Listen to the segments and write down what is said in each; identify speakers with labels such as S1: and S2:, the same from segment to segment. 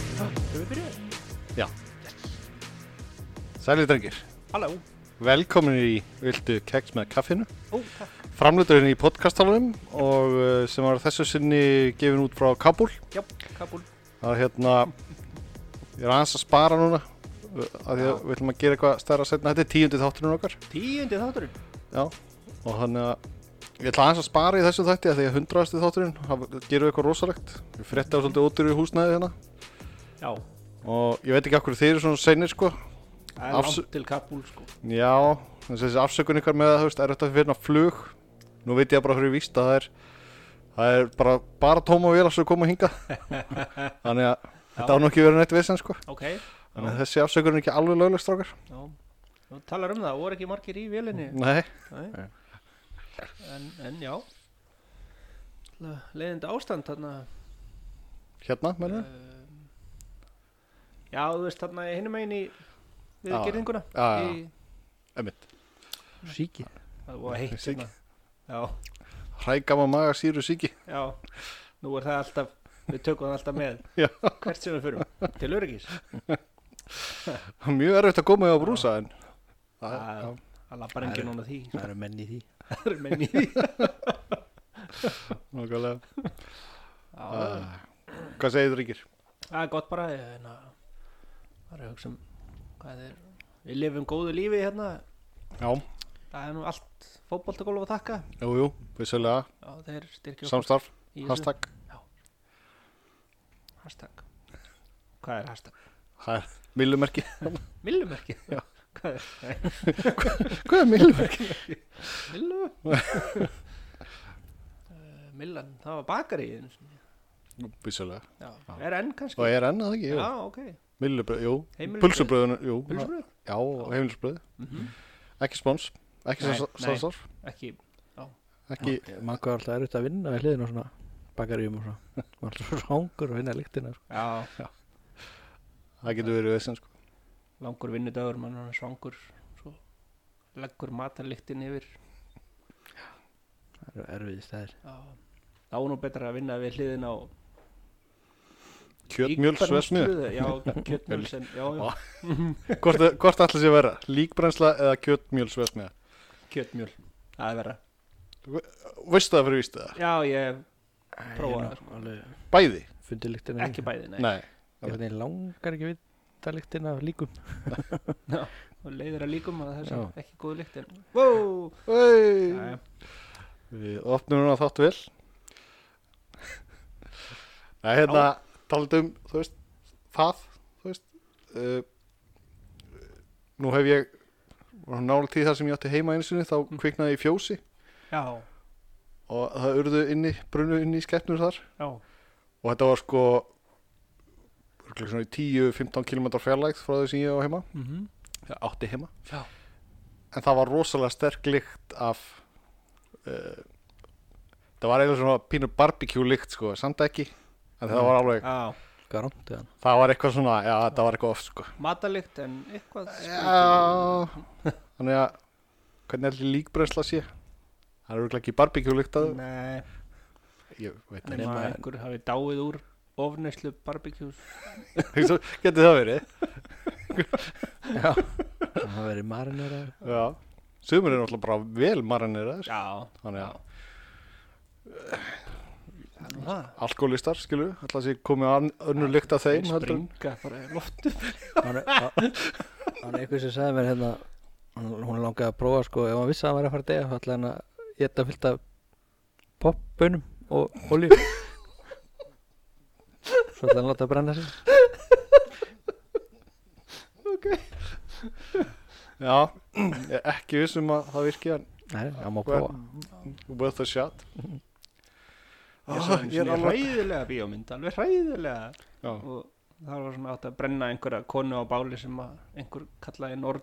S1: við byrjuðum.
S2: Já. Sælið drengir,
S1: Halló.
S2: velkomin í Vildu keks með kaffinu.
S1: Ó, takk.
S2: Framleiturinn í podcastalunum og uh, sem var að þessu sinni gefin út frá Kabul.
S1: Já, Kabul.
S2: Að hérna, ég er aðeins að spara núna uh, að því
S1: Já.
S2: að við ætlum að gera eitthvað stærra setna. Þetta er tíundi þátturinn okkar.
S1: Tíundi þátturinn.
S2: Já. Og hann að ég ætla aðeins að spara í þessu þætti að því að hundraðasti þátturinn, það gerum við eitthvað rosalegt. Við frétta á svolítið ódýru húsnæði hérna
S1: Já.
S2: og ég veit ekki okkur þeir eru svona senir sko.
S1: Það er
S2: Afs-
S1: langt til Kabul, sko.
S2: Já, þess að þessi afsökun ykkar með að þú veist, er þetta að finna flug? Nú veit ég bara fyrir víst að það er, það er bara, bara tóma vél að koma hinga. Þannig að þetta á nú ekki verið neitt vesen, sko.
S1: Ok.
S2: Þannig að þessi afsökun er ekki alveg lögleg, strákar.
S1: Já. Þú talar um það, voru ekki margir í vélinni.
S2: Nei,
S1: Mm. Nei. En, en já. Leðind ástand þarna.
S2: hérna, mennum við.
S1: Um, já, þú veist þarna hinum einn í við
S2: Já, já.
S1: gerðinguna.
S2: Já, já.
S1: Í-
S2: Emmitt.
S1: Síki Það var heitt
S2: Síki.
S1: hérna Já,
S2: Hrækama maga síru síki.
S1: já Nú er það alltaf, við tökum það alltaf með
S2: Já.
S1: Hvert sem við förum Til öryggis
S2: Mjög erfitt að koma í á brúsa, en...
S1: Já, já. Það lappar enginn núna því
S3: Það eru menn í því.
S1: Það er menn í því
S2: Nákvæmlega.
S1: Já,
S2: Hvað segir þú, Ríkir?
S1: Það er gott bara ég, hérna, Það er að hugsa um Hvað er Við lifum góðu lífi hérna
S2: Já,
S1: Það er nú allt fótboltagólf að þakka
S2: jú, jú, vissulega,
S1: Já, þeir styrkja okkur
S2: samstarf,
S1: í þessu.
S2: hashtag.
S1: Hashtag Hvað er hashtag?
S2: Það er millumerki.
S1: Millumerki
S2: Já.
S1: Hvað er? Nei,
S2: Hvað er millumerki?
S1: Millu Eh, Millan, það var bakari einu sinni.
S2: Vissulega.
S1: Já, er enn kannski
S2: Og er enn að það ekki, jú.
S1: Já, ok
S2: Millubröð, jú,
S1: Heimilisbrauð.
S2: pulsubröðun, jú,
S1: Pulsubrauð?
S2: já, heimilisbröð, ekki spons, ekki
S1: Nei, nei.
S2: sásar,
S1: Mhm. Ekki
S2: ekki,
S3: Mangu var alltaf erfitt að vinna í hliðinu á svona bakaríum og svona. Var alltaf svo hangur að vinna líktina. Sko.
S1: Já,
S2: það getur verið vesen, sko,
S1: langur vinnudagur, mann er svangur Svo leggur matarlyktin yfir
S3: Það eru erfiði stæðir.
S1: Já Þá er nú betra að vinna við hliðin á
S2: kjötmjölsvesmið,
S1: íkvæðansmiðju. Já, kjötmjöls en, já, já,
S2: Ó. hvort, hvort allir sé vera, líkbrennsla eða kjötmjölsvesmið,
S1: kjötmjöl Það er vera
S2: veistu það fyrir vístu það,
S1: Já, ég Prófa það,
S3: sko. Alveg
S2: bæði,
S3: fundið líktina.
S1: ekki bæði, nei,
S2: nei,
S3: Ég veit ég langar ekki að vita líktina af líkum.
S1: Og leiðir að líkum að þess
S3: Já.
S1: að ekki góð lykt en Wow
S2: Hey.
S1: Jæja.
S2: við opnum núna þátt vel, nei, hérna, taldum, þú veist, það, þú veist, uh, nú hef ég, nálega tíð þar sem ég átti heima einu sinni, þá kviknaði ég í fjósi,
S1: Já,
S2: og það urðu inni, brunnu inni í skeppnur þar
S1: já,
S2: og þetta var sko örugglega svona í 10-15 km fjarlægð frá því sem ég á heima
S1: mhm
S2: eða átti heima
S1: Já.
S2: en það var rosalega sterk lykt af uh, það var eiginlega svona pínur barbecue lykt sko, samt ekki en það var alveg,
S1: Já,
S3: Hvað rámtið hann?
S2: það var eitthvað svona já, það var eitthvað oft sko
S1: matalikt en eitthvað skrítið.
S2: já, þannig að hvernig er líkbrennsla sé það er örugglega ekki barbecue lykt að
S1: Nei,
S2: ég veit
S1: nema
S3: Nema-
S1: einhver hafi dáið úr ofneslu barbekjús
S2: ekki, getur það verið
S3: Já. Það hafa verið marinera.
S2: Já, sumur er náttúrulega bara vel marinir aðeins,
S1: Já,
S2: þannig að
S1: það er nú það
S2: alkoholistar, skilur, alltaf sé komið an, önnur lykt að þeim,
S1: Þeir
S2: heldur en-
S1: springa bara í loftu
S3: Hann er- hann- hann er einhver sem sagði mér hérna, hún, hún langaði að prófa sko, ef hann vissi að hann var að fara að degja, þá ætlaði hann að geta fyllt af poppunum og olíu. Svo ætlaði hann að láta að brenna sig.
S2: Já, ég er ekki viss um að það virki en
S3: Nei, hann má prófa.
S2: worth a shot
S1: Ég
S2: Ah,
S1: sá einu
S2: ég er
S1: sinni
S2: alveg
S1: hræðilega bíómynd, alveg hræðilega
S2: Já,
S1: og það var svona átt að brenna einhverja konu á báli sem að einhver kallaði norn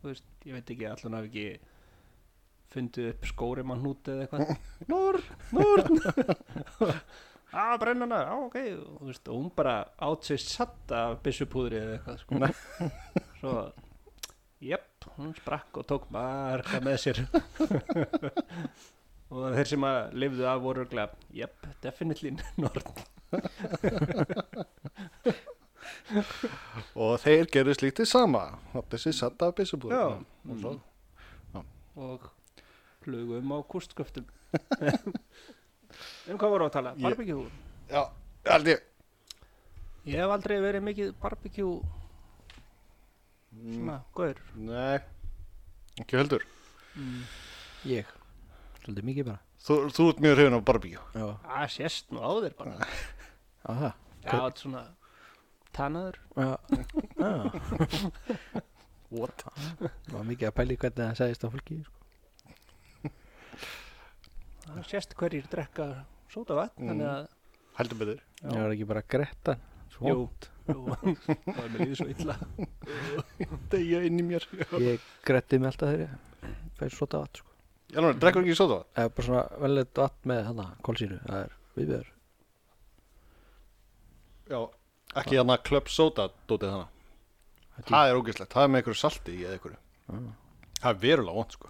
S1: þú veist, ég veit ekki, allan hafi ekki fundið upp skóri mann hnúti eða eitthvað norn, norn að brenna hana, já ok og, þú veist, og hún bara átt sér satt af byssupúðri eða eitthvað sko. svo jöpp, hún sprakk og tók marga með sér og þeir sem að lifðu af voru örugglega, jöpp, definitely norn
S2: þeir gerðu slíktið sama þessi satt af byssubúður
S1: Já. Mm.
S2: og svo
S1: og flugum á kústsköftum um hvað voru að tala?
S2: Ég-
S1: Barbecue?
S2: já, held ég
S1: Ég hef aldrei verið mikið barbecue svona, gaur
S2: nei, ekki heldur
S3: Ég Svolítið mikið bara
S2: þú, þú ert mjög hrifin af barbíu
S3: Já,
S1: Það sést nú á þér bara
S3: á það
S1: Já, þetta er svona tannaður
S3: Já, já What? Það var mikið að pæli hvernig það segist á fólki sko.
S1: Það sést hverjir drekka sóta vatn þannig að
S2: heldur betur
S1: Já.
S3: Ég var ekki bara gretta Svo
S1: Jú, jú, það er mér líður svo illa
S2: degja inn í mér
S3: Ég gretti mig alltaf þegar ég Fæði sota vatn sko
S2: já, nú, drekkur ekki sóta
S3: Eða bara svona velleitt vatn með hana Kolsýru Það er viðbjör
S2: já, ekki hann að klöpp sóta dótið hana
S3: Þetta-
S2: það er ógislegt, það er með einhverju salti í eða einhverju
S1: Ah.
S3: Já.
S2: það er verulega vond sko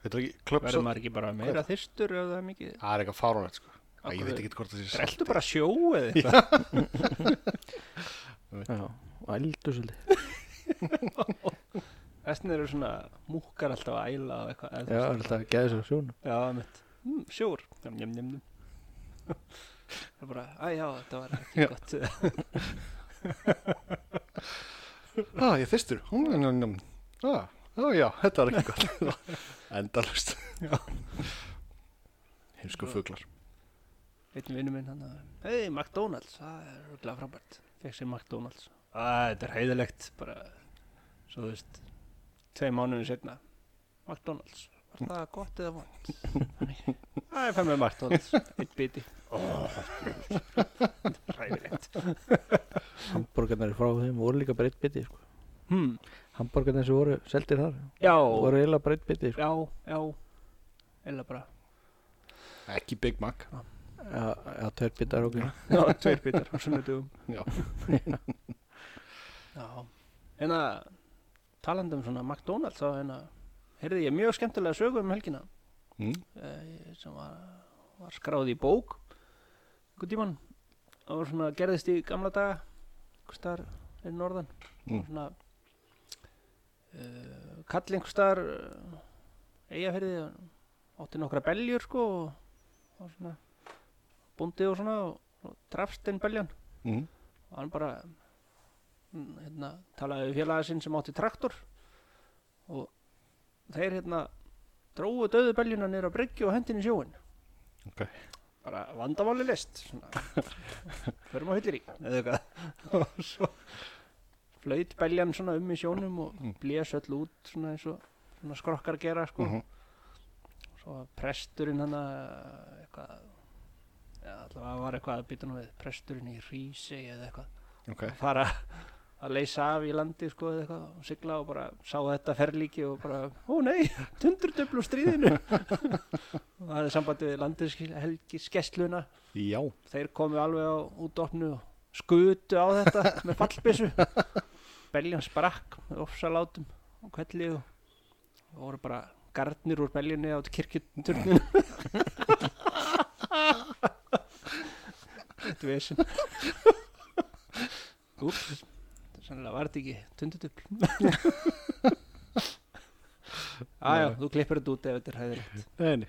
S2: þetta er ekki klöpp
S1: Verður
S2: sóta
S1: maður ekki bara meira þyrstur ef það er mikið
S2: það er eitthvað fáránlegt sko Æ, ég
S1: Akkur-
S2: veit ekki hvort það sé salti
S1: Drelltu bara sjó eða eitthvað
S3: Já, ældu svolítið
S1: Þessna eru svona múkar alltaf að æla og eitthvað eða þú
S3: Já,
S1: veist.
S3: alltaf geði svo sjónu
S1: Já, mitt. Mm, sjór. Njum, njum, njum. Það er bara, að já, þetta var ekki
S2: Já.
S1: gott.
S2: ah, ég þyrstur Mm, njum, njum. ah, ah, já, þetta var ekki gott endalust
S1: Já.
S2: heimsku fuglar
S1: Einn vinnu minn hann að, hei, McDonalds, það er rúglega frábært. Fekk sér McDonalds. Að, þetta er heiðilegt, bara, svo þú veist, tvei mánuðin setna. McDonalds, var það gott eða vond? Það er fæð með McDonalds, eitt biti. Oh. Ræðilegt.
S3: Hamborgarnar frá þeim voru líka bara eitt biti sko.
S1: Hmm.
S3: Hamborgarnar sem voru seldir þar
S1: Já,
S3: voru eiginlega bara eitt biti sko.
S1: já, já, eða bara.
S2: ekki Big Mac
S3: Já, já tveir bitar okkur
S1: Já, tveir bitar á sunnudugum
S2: Já.
S1: Já En að Hérna, talandi um svona McDonalds þá hérna heyrði ég mjög skemmtilega sögu um helgina
S2: mm.
S1: eh, sem var, var skráð í bók einhvern tímann og svona gerðist í gamla daga einhvers staðar er norðan
S2: Mm.
S1: og svona uh, kall einhvers staðar uh, eigafyrði átti nokkra beljur sko og, og svona bóndi og svona og, og drafst einn beljan
S2: Mm.
S1: og hann bara mm, hérna, talaði við félaga sinn sem átti traktor og þeir hérna dróðu döðu beljuna niður á bryggju og hendin í sjóin
S2: Ok.
S1: bara vandamáli list svona. förum á hyllir í eða eitthvað og svo flaut beljan svona um í sjónum og
S2: Mm.
S1: blés öll út svona eins og svona skrokkar gera sko
S2: Mhm.
S1: svo var presturinn hann eitthvað ja, allavega var eitthvað að býta nú við presturinn í Rísi eða eitthvað
S2: ok
S1: að fara að leysa af í landi sko eða eitthvað og sigla og bara sá þetta ferlíki og bara, ó nei, tundurdöflu stríðinu og það er sambandi við landinskessluna
S2: já,
S1: þeir komu alveg á útdóknu og skutu á þetta með fallbissu beljan sprakk með ofsalátum og kvelli og og voru bara garnir úr beljunni át kirkjuturnin Þetta vesen Úps Sannlega var þetta ekki tundutull Æja, þú klippir þetta út ef þetta er hæðilegt
S2: neini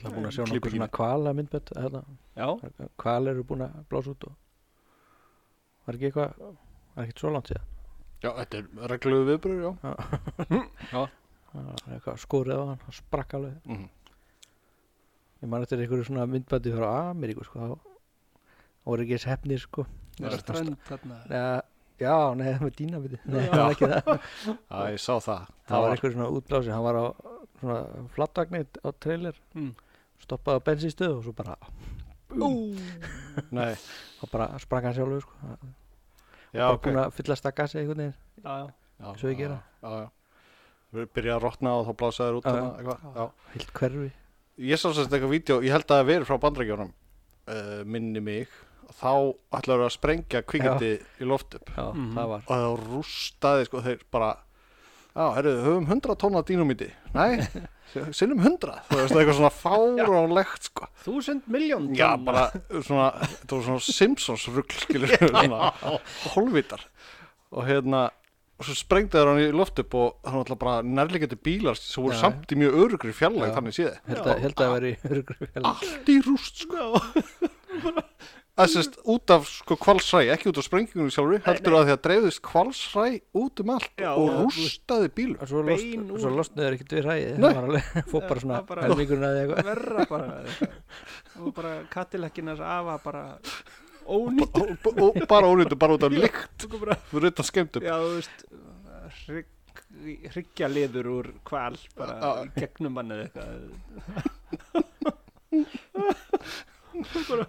S3: Það búin að sjá
S2: Klippir
S3: nokkuð svona kvala myndbönd hérna.
S1: Já,
S3: Kval eru búin að blása út og var ekki eitthvað var ekki svo langt síðan
S2: já, þetta er reglulegu viðbröð, já
S3: Það var eitthvað skorið á hann, hann sprakk alveg
S2: mm.
S3: Ég man eftir einhverju svona myndböndi frá Ameríku sko, þá þá voru ekki þess hefnir sko
S1: það er strönd þarna
S3: Nei, Já, nei, það var dýna byrði Nei,
S1: Já.
S3: það var ekki það
S2: Æ, ég sá það
S3: það var einhver svona útblási hann var á svona flattagni á trailer
S1: Mm.
S3: stoppaði á bensinstöð og svo bara
S2: nei,
S3: og bara sprakk hann sjálfur sko. já,
S2: já,
S3: bara
S2: ok
S3: búin að fyllast að gasi einhvern veginn
S1: Já, já
S2: já,
S3: svo ég gera.
S2: já, já, já. Við byrja að rotna og þá blása þér út
S3: Já,
S2: hana, eitthvað, já
S3: heilt hverfi
S2: ég sá sérst eitthvað vídeo, ég held að það hafi verið frá bandrækjónum uh, minni mig þá ætlaður að sprengja kvikindi í loft upp
S3: já,
S1: Mhm.
S3: það var
S2: og það rústaði sko þeir bara já, herru, höfum 100 tónna dínumíti nei, sinnum 100 þú veist eitthvað svona fáránlegt sko
S1: Þúsund miljón
S2: já, bara svona, þetta var svona Simpsons rugl skilur svona hólvitar og hérna og svo sprengdi þær hann í loft upp og hann alltaf bara nærlegjandi bílar sem voru
S3: Já.
S2: samt í mjög örugri fjarlæg
S3: Já.
S2: þannig séð
S3: held að, held að veri örugri vel
S2: allt í rúst sko Það sést út af sko kvalsræ, ekki út af sprengingunum sjálfri, heldur að því að dreifðist kvalsræ út um allt
S1: Já,
S2: og
S1: já, þú veist.
S2: rústaði bílum.
S3: og svo,
S1: Bein
S3: lost,
S1: úr-
S3: svo losnaður ekkert við hræði
S2: Nei.
S3: það var alveg, fór bara svona
S1: Það bara-
S3: helmingurinn að eitthvað
S1: verra bara og bara katilekkin hans afa bara ónýtt
S2: Og, og, og bara ónýttu, bara út af lykt,
S1: Tökum bara-
S2: fyrir utan skemmtum.
S1: já, þú veist hrygg- hryggjarliður úr kval bara í gegnum hann eða eitthvað bara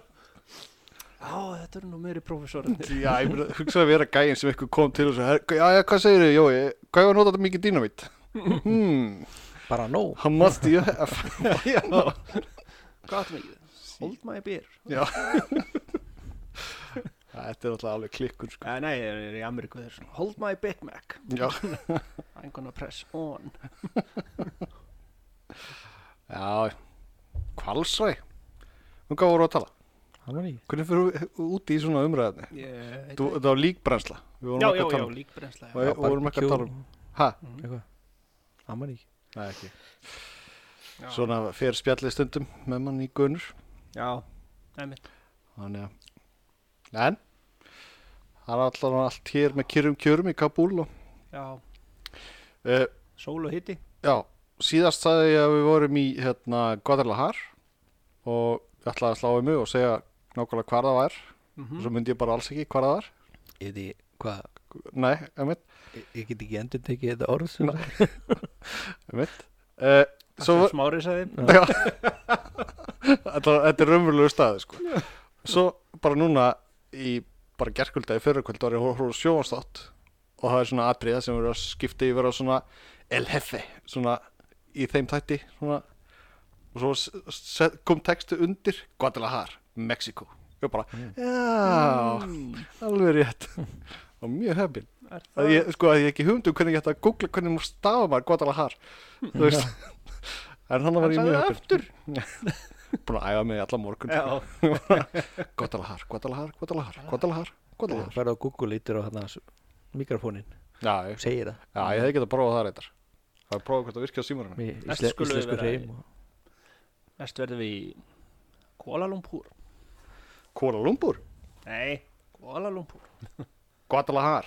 S1: já, þetta eru nú meiri prófessorinn
S2: Já, ég meina, hugsaði að vera gæinn sem eitthvað kom til og svo, "Her- já, já, hvað segir þið, Jói, hvað er að nota þetta mikið dýnamít? Hmm,
S3: bara nóg
S2: how much do you have? já,
S1: hvað áttum ekki, hold my beer
S2: já. Þetta er alltaf alveg klikkun, sko.
S1: Eh, nei, ég er í Ameríku þeir svona, hold my Big Mac
S2: Já,
S1: I'm gonna press on
S2: já, kvalsræ, um hvað voru að tala?
S3: hann var ný
S2: Hvernig fyrir við úti í svona umræðinni?
S1: ég,
S2: Þú- Þetta var líkbrennsla. Við vorum
S1: já,
S2: ekki
S1: já,
S2: að
S1: já,
S2: tala um.
S1: líkbrennsla
S2: Og
S1: já.
S2: ég- vorum ekki að tala um. Hæ?
S3: eitthvað hann var ný
S2: Nei, ekki.
S1: Já.
S2: Svona fer spjallið stundum með mann í gunur.
S1: Já, einmitt
S2: Þannig að. En. Það er alltaf allt hér með kyrrum kjörum í Kabul og.
S1: Já,
S2: Uh,
S1: sól og hitti
S2: já, síðast sagði ég að við vorum í hérna Guadalajara og ég ætlaði að slá um mig og segja nákvæmlega hvar það var.
S1: mm
S2: og Svo myndi ég bara alls ekki hvar það var.
S3: ég veit ekki hvað
S2: Nei, emitt,
S3: ég, ég get ekki endur tekið þetta orð sko. sem það-
S2: emitt. Uh,
S1: Svo smári sagði
S2: Já. þetta, þetta er raunverulegu staði sko. svo bara núna í bara gerkvölda í fyrrakvöld var ég að horfa sjóanstátt og það er svona atriða sem eru að skipta yfir á svona El Jefe svona í þeim tætti svona. og svo s- s- kom textu undir Guadalajara, Mexiko og bara, já,
S1: mm,
S2: alveg rétt og mjög hefðin
S1: Er
S2: að
S1: það
S2: ég, sko, að ég ekki hugmynd um hvernig ég ætti að googla hvernig maður stafa maður Guadalajara þú veist en þannig
S1: Hmm. Hann
S2: var ég
S1: sagði
S2: mjög
S1: það
S2: heppinn. búin að æfa mig í alla morgun
S1: Já,
S2: sko. Guadalajara, Guadalajara, Guadalajara, Guadalajara
S3: þú
S2: Guadalajara
S3: færðu á Google lítur á hérna mikrofónin
S2: já, ég,
S3: segir það
S2: já, ég hefði getað prófað það reyndar það er prófað hvort það virkja á símanum
S3: Í-
S1: Næst
S3: ísle-
S1: skulum við
S3: íslensku
S1: vera í-
S3: hreim og-
S1: næst verðum við í Kuala Lumpur
S2: Kuala Lumpur,
S1: Nei, Kuala Lumpur
S2: Guadalajara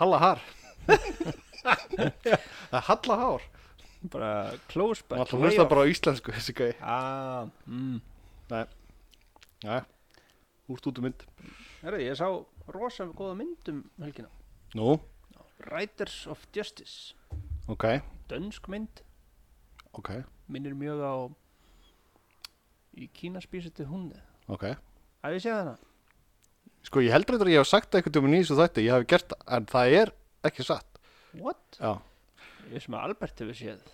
S2: Hallahar það er Hallahár
S1: Bara close
S2: maður
S1: but
S2: ætla að
S1: way
S2: hlusta
S1: off.
S2: bara á íslensku þessi gæi
S1: Já, mm.
S2: já, úrst út um mynd
S1: Herri, ég sá rosa góða myndum helgina
S2: nú,
S1: Riders of Justice
S2: ok,
S1: Dönsk mynd,
S2: ok,
S1: minnir mjög á Í Kína spísið til hún
S2: ok
S1: Að ég sé hana
S2: Sko ég heldur þetta að ég hef sagt eitthvað um nýjum svo þætti, ég hef gert það, en það er ekki satt.
S1: What?
S2: Já.
S1: Ég sem að Albert hefur séð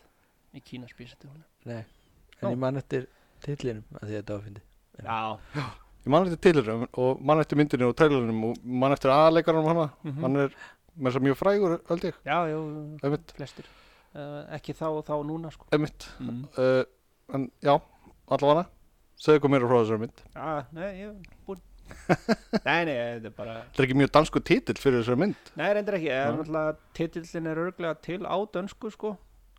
S1: Í Kína spísið til hún
S3: nei
S1: Já.
S3: en ég man eftir tillinum að því að þetta var fyndi
S1: Já,
S2: Ég man eftir tilirum og man eftir myndinu og trailerinum og man eftir aðleikarunum hana,
S1: Mhm.
S2: hann er með þess að mjög frægur, held ég,
S1: já, já
S2: einmitt,
S1: flestir uh, ekki þá og þá núna sko
S2: einmitt.
S1: mm.
S2: Uh, en já, allavega, segðu eitthvað meira frá þessari mynd.
S1: ah, nei, ég er búinn nei, nei, þetta er bara
S2: Þetta er ekki mjög dansku títill fyrir þessari mynd,
S1: nei, reyndir ekki, það er
S2: Nei.
S1: náttúrulega titillin er örglega til á dönsku sko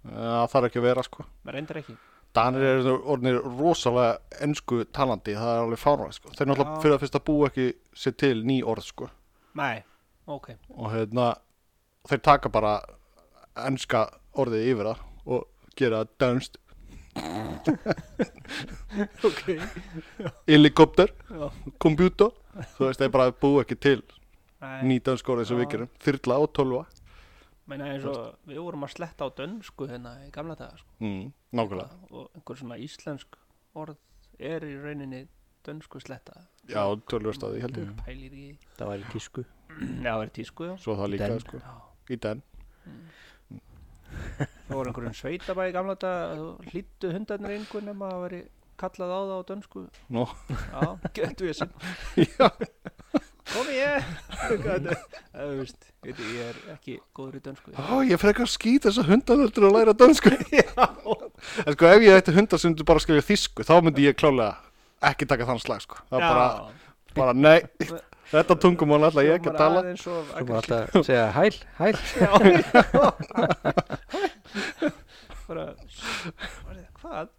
S2: Eh, það þarf ekki að vera sko.
S1: reyndir ekki,
S2: Danir eru orðinir rosalega ennsku talandi, það er alveg fárvægt sko. Þeir náttúrulega
S1: Já.
S2: fyrir að fyrst að búa ekki sér til ný orð sko.
S1: nei, ok
S2: og hérna þeir taka bara ennska orðið yfir það og gera það dönst
S1: ok,
S2: helikopter,
S1: já,
S2: kompjúta þú veist þeir bara búa ekki til
S1: nei
S2: ný dönsk orðið sem
S1: Já.
S2: við gerum, þyrla og tölva
S1: meina eins og við vorum að sletta á dönsku hérna í gamla daga sko
S2: mm, nákvæmlega,
S1: og einhver svona íslensk orð er í rauninni dönsku sletta
S2: já tölvast að því held ég
S1: pælir í,
S3: það var í tísku
S1: já, það er tísku já
S2: svo það líka
S3: Den.
S2: sko,
S1: Já.
S2: í den
S1: Það voru einhverjum sveitabæ í gamla þetta hlýttu hundarnir einhver nema að veri kallað á það á dönsku
S2: Nú.
S1: Já, getur við sem
S2: já,
S1: Kom ég Hvað þetta- Það þú veist, veit ég, ég er ekki góður í dönsku
S2: Ó, ég frekar skýt þess að hundanöldur að læra dönsku en sko ef ég ætti hundar sem myndu bara skilja þýsku þá myndi ég klálega ekki taka þann slag sko, það er bara, bara nei, Þetta tungumál ætla ég ekki að tala
S1: eins og
S3: Svo maður alltaf að segja hæl, hæl
S1: bara var þetta- hvað?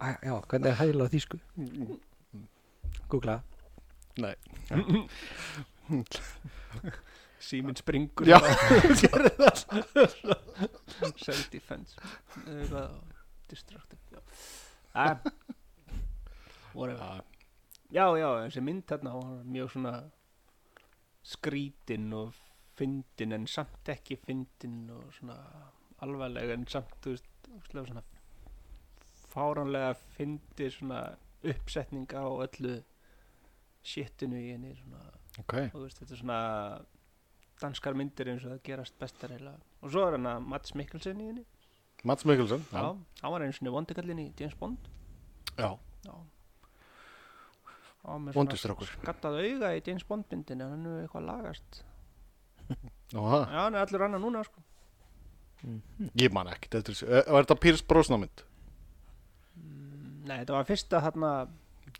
S3: Æ, Já, hvernig er hæl á þýsku? Googla
S1: Síminn springur
S2: Já.
S1: gerði það self-defense eitthvað distracted já. Ah. whatever já, já, þessi mynd þarna hún var mjög svona skrítin og fyndin en samt ekki fyndin og svona alvarleg en samt, þú veist, ógeðslega svona fáránlega fyndi svona uppsetning á öllu shitinu í henni svona
S2: Ok,
S1: og þú veist, þetta er svona danskar myndir eins og það gerast bestar heila og svo er hann að Mats Mikkelsen í henni
S2: Mats Mikkelsen
S1: já, hann var eins og vondikallin í James Bond
S2: já.
S1: já hann var með
S2: Vondustrákur.
S1: skattað auga í James Bond myndinni hann er nú eitthvað lagast
S2: Nú, ha,
S1: já, hann er allur annar núna sko
S2: Ég man ekki Þetta er, Eh, var þetta Pírs Brósnamynd
S1: nei, þetta var fyrsta þarna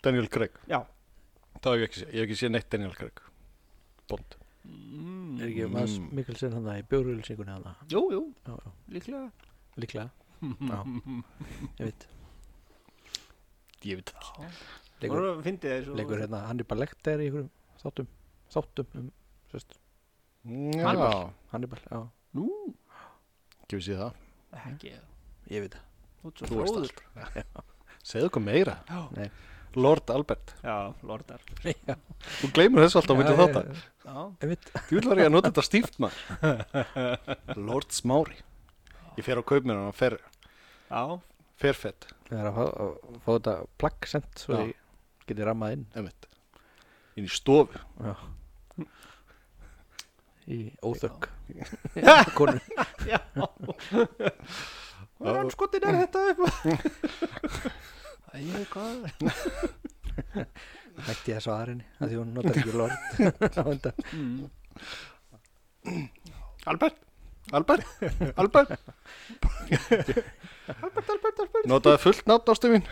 S2: Daniel Craig
S1: já,
S2: Það hef ég ekki séð Ég hef ekki séð neitt Daniel Craig Bond
S1: mm,
S3: Er ekki Mads
S2: Mm.
S3: Mikkelsen hann það í bjórulsingunni hann
S1: jú, jú,
S3: Já, já,
S1: líklega
S3: líklega
S1: Mm.
S3: Ég veit
S2: Ég veit það
S1: já, og
S3: Leikur,
S1: svo fyndið þér svo
S3: leikur hérna, hann er bara lektar í einhverjum þáttum Þáttum um, sérst
S2: Já,
S3: Hannibal. Hann er bara, já
S1: nú,
S2: ekki við séð það
S1: ekki,
S3: Ég veit það
S1: þú ert svo
S2: Þú veist
S1: fróður
S2: allt Segðu okkur meira
S3: Nei.
S2: Lord Albert
S1: já, lordar
S3: Já,
S2: Þú gleymur þessu alltaf á myndið þátt
S1: já,
S3: Ég veit
S2: Þú vil var ég að nota þetta stíft maður Lord Smári Ég fer á kaupminn og hann fer,
S1: já,
S2: fer fett
S3: Það er að fá, að fá þetta plagg sent svo
S2: Já.
S3: ég geti rammað inn
S2: einmitt. Inn í stofu
S3: Já. Í óþökk Konu
S1: Já Hvað er anskotin er þetta upp? Æ, hvað?
S3: Hætti þessu aðrinni að því hún notar ekki lort á þetta
S1: Mm.
S2: Albert, Albert, Albert
S1: Albert, Albert, Albert
S2: Notaði fullt nátt ástu mín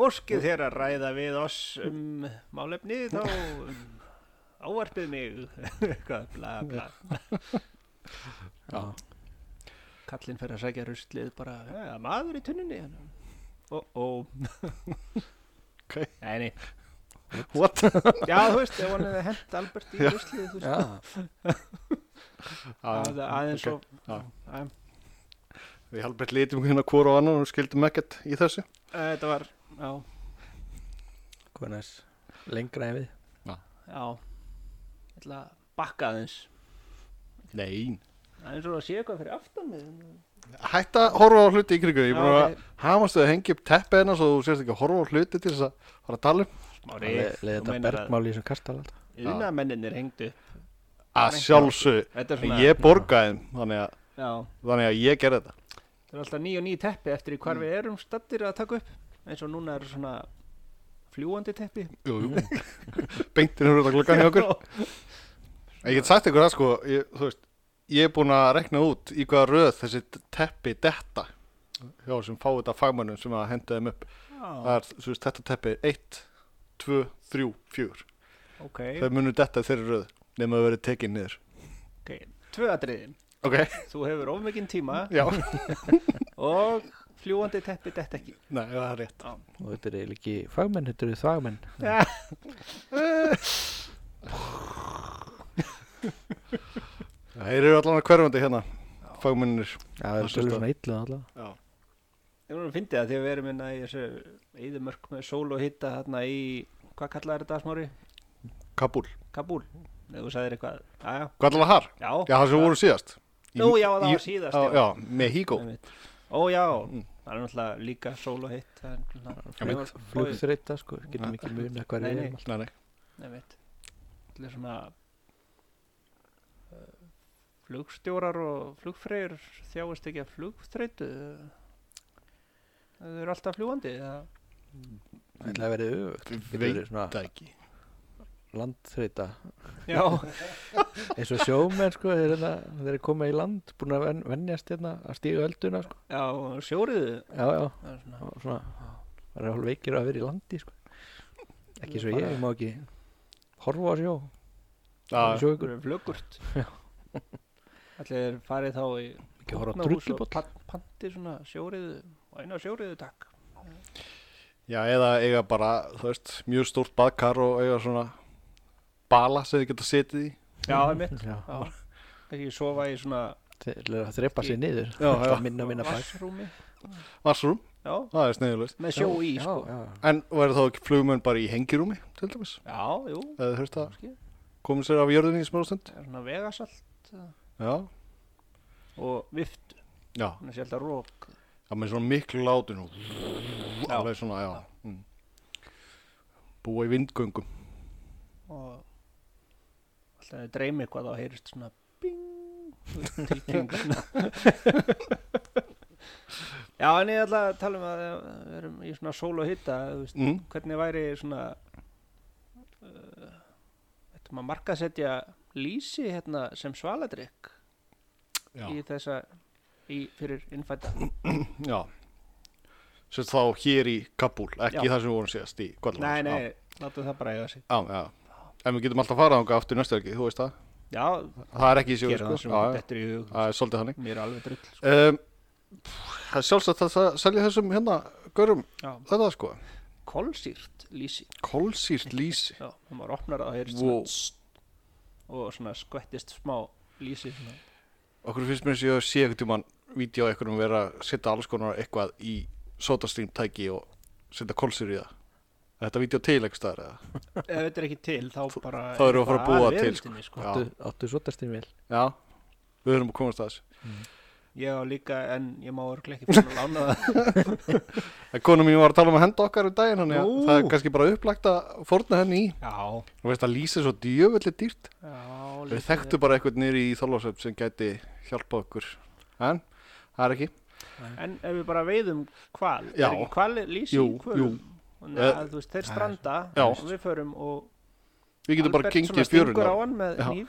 S1: Óskið þér að ræða við oss um málefni þá um, ávarpið mig eitthvað, bla, bla
S2: Já.
S1: Kallinn fer að sækja ruslið bara, ja, maður í tunnunni hérna. Ó, ó
S2: Ok.
S1: Nei, nei
S2: What?
S1: Já, þú veist, ef hann hefði hent Albert í ruslið, þú veist
S3: Já,
S1: að- aðeins
S2: ok.
S1: og
S2: Já.
S1: Æ,
S2: Við Albert litum hérna hvora og annan og skildum ekkert í þessu
S1: Þetta var, já,
S3: konu þess lengra en við
S1: já Ég ætla að bakka aðeins
S2: Nei
S1: aðeins og að sé eitthvað fyrir aftan mig
S2: Hætta að horfa á hluti í kringu Ég
S1: Já,
S2: er búin
S1: ok.
S2: að hamast þau að hengja upp teppið hennar svo þú sérst ekki að horfa á hluti til þess að fara að tala um
S1: Smári,
S3: Leðið þetta bergmál í þessum kastal
S1: Unamennir hengdu upp.
S2: að sjálfsög
S1: Þetta er svona,
S2: Ég borgaði þeim, þannig að,
S1: já
S2: þannig að ég gerði þetta
S1: Það er alltaf ný og ný teppi eftir í hvar
S2: Mm.
S1: við erum stattir að taka upp eins og núna er svona fljúandi teppi
S2: Jú, jú. Beintin eru þetta klokkan hjá okkur Ég get sagt ykkur það sko ég, Þú veist, ég er búin að rekna út í hvaða röð þessi teppi detta hjá sem fá þetta fagmönnum sem að henda þeim upp Það
S1: Já,
S2: er, þú veist, þetta teppi er 1, 2, 3, 4
S1: ok,
S2: Þau munu detta í þeirri röð nema að verið tekin niður
S1: ok Tvö atriði,
S2: Ok,
S1: þú hefur ofmikinn tíma
S2: já,
S1: og fljúandi teppi dett ekki
S2: nei, það er rétt
S1: Já,
S3: og þetta er eiginlega ekki fagmenn, þetta eru þagmenn
S1: Já.
S2: Þeir eru allan að hverfandi hérna fagmönnir
S3: Já, það
S2: Það
S3: eru tölur
S2: sést
S3: svona um illu allavega
S2: Já,
S1: Ég voru að fyndi það þegar við erum hérna í þessu eðumörk með sól og hitta hérna í, hvað kallaði þetta smári?
S2: Kabul
S1: Kabul? Nei, þú sagðir eitthvað, aðja,
S2: Guadalajara,
S1: já.
S2: já, það sem voru síðast
S1: Nú, já, það var síðast,
S2: já,
S1: já.
S2: já Mexico,
S1: Einmitt. Ó já,
S2: Mm.
S1: það er náttúrulega líka sól og hitt, það er náttúrulega
S2: Einmitt.
S1: flugþur.
S3: flugþreita sko, getum ekki muna hvað
S1: Nei,
S3: við
S1: nei.
S3: erum
S2: nei, nei
S1: Nei, veit, þetta er svona uh, flugstjórar og flugfreyr þjáist ekki að flugþreytu, þau eru alltaf fljúandi, það
S3: alltaf ætla að verið öfugt getur verið
S2: Það
S3: svona
S2: er ekki
S3: landþreita
S1: Já,
S3: eins og sjómenn sko, þeir eru hérna- þeir eru koma í land búin að ven- venjast hérna að stíga ölduna sko.
S1: já, sjóriðu,
S3: já, já,
S1: það er svona,
S3: og svona það eru hálf veikir að vera í landi sko. ekki svo ég, ég má ekki horfa á sjó,
S2: Já,
S3: sjó
S1: Ykkur
S3: ykkur
S1: er flugurt Allir þeir farið þá í
S3: ekki horfa á
S1: Ógnarhús og
S3: drullubóll
S1: pan- Panti svona sjóriðu Og eina sjóriðu takk
S2: já, eða eiga bara, þú veist, mjög stórt baðkar og eiga svona bala sem þið geta setið í.
S1: Já, einmitt
S3: Já.
S1: Já, kannski sofa í svona
S3: til að þrepa sig niður
S2: Já, já.
S3: alltaf minna minna bak
S1: vassrúmi
S2: Vassrúm,
S1: Já,
S2: það er sniðilegt.
S1: með sjó í
S3: Já,
S1: sko
S3: já,
S2: En væri þá ekki flugmenn bara í hengirúmi, til dæmis?
S1: Já, jú,
S2: Eða þú veist að
S1: kannski
S2: komið sér af jörðinni í smálstund?
S1: Það er svona vegasalt
S2: Já,
S1: og vift
S2: já,
S1: Þannig sé alltaf rók
S2: það með svona miklu látinu.
S1: Já.
S2: Alveg svona, já. Mm. Búa í vindgöngum.
S1: Og alltaf þið dreymi eitthvað þá heyrist svona Bing Tilkynning svona. Já, en ég ætla að tala um að við erum í svona sól og hitta Þú veist,
S2: Mm.
S1: hvernig væri svona uh, Þetta maður markasetja lýsi hérna sem svaladrykk
S2: Já.
S1: í þessa í, fyrir innfætta
S2: Já Sérst þá hér í Kabul,
S1: Já.
S2: ekki það sem við vorum síðast í Guadalajara.
S1: Nei, nei, látum það bara eiga sig
S2: Já, já, já. En við getum alltaf að fara þangað aftur næstu helgi, þú veist það.
S1: Já,
S2: Það er ekki í sigur,
S1: gera
S2: sko.
S1: það sem
S2: Já,
S1: okkur
S2: já,
S1: dettur í hug
S2: það er svolítið hannig.
S1: Mér er alveg drull sko.
S2: Um, það er sjálfsagt að það selja þessum hérna, görum,
S1: Já,
S2: þetta sko.
S1: Kolsýrt lýsi
S2: Kolsýrt lýsi.
S1: Já, það maður opnar það og heyrist
S2: Wow.
S1: svona tss, og svona skvettist smá lýsi svona.
S2: Okkur finnst mér eins og ég sé ekkert um hann vídeo eitthvað um vera að setja alls konar eitthvað í sótastrým tæki og setja kolsýr í það. Er Þetta vídeo til ekki staðar eða?
S1: Ef þetta er ekki til þá bara
S2: þá erum við að fara
S1: bara
S2: að búa til,
S1: veröldinni, sko.
S2: Já.
S3: áttu, áttu svotastinn vel
S2: Já, við höfum að komast að þessu.
S1: Ég á líka en ég má örglega ekki fyrir að lána það
S2: En konu mín var að tala um að henda okkar um daginn þannig að
S1: Nú.
S2: það er kannski bara upplagt að forna henni í
S1: Já,
S2: og veist að lýsa svo djöfulli dýrt
S1: já
S2: við þekktu bara eitthvað nýri í þorlásöf sem gæti hjálpa okkur en það er ekki
S1: En ef við bara veiðum hval
S2: Já.
S1: Er ekki hval lýsi
S2: Jú,
S1: í hvölum? Þannig
S2: Eh,
S1: að þú veist, þeir stranda
S2: Já.
S1: og við förum og
S2: við getum bara
S1: Albert
S2: kynkt
S1: svona
S2: í fjörun
S1: stingur á hann með
S2: Já.
S1: nýf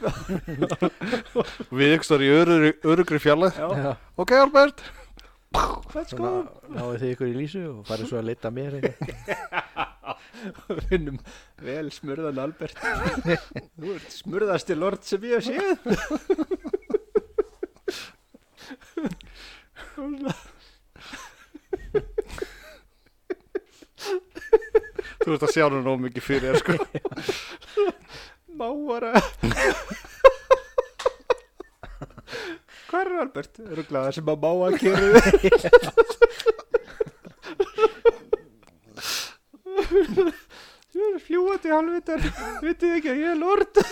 S2: við ekki stóri í örugri, örugri fjalli
S1: Já, sko.
S2: ok Albert
S1: let's go
S3: Svona náðu þið ykkur í lísu og farið svo að leita að mér hérna. eitthvað.
S1: Finnum vel smurðan Albert Þú ert smurðasti lord sem ég hef séð
S2: þú veist að sjá hann nóg mikið fyrir þér, sko.
S1: Máara Hvað er Albert? Rugglað það sem að máa gerir Þú er fljúandi halvitar Vitið ekki að ég er lord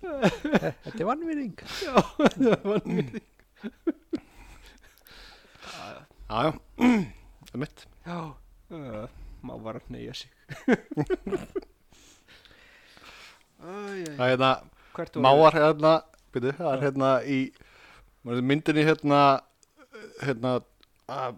S3: þetta er vannvinning
S2: já já það er mitt
S1: Já uh, Máara neyja sig Æ, æ. Eh,
S2: það er hérna
S1: Hvert
S2: máar hérna byrju, það er hérna í maður er myndinni hérna hérna að,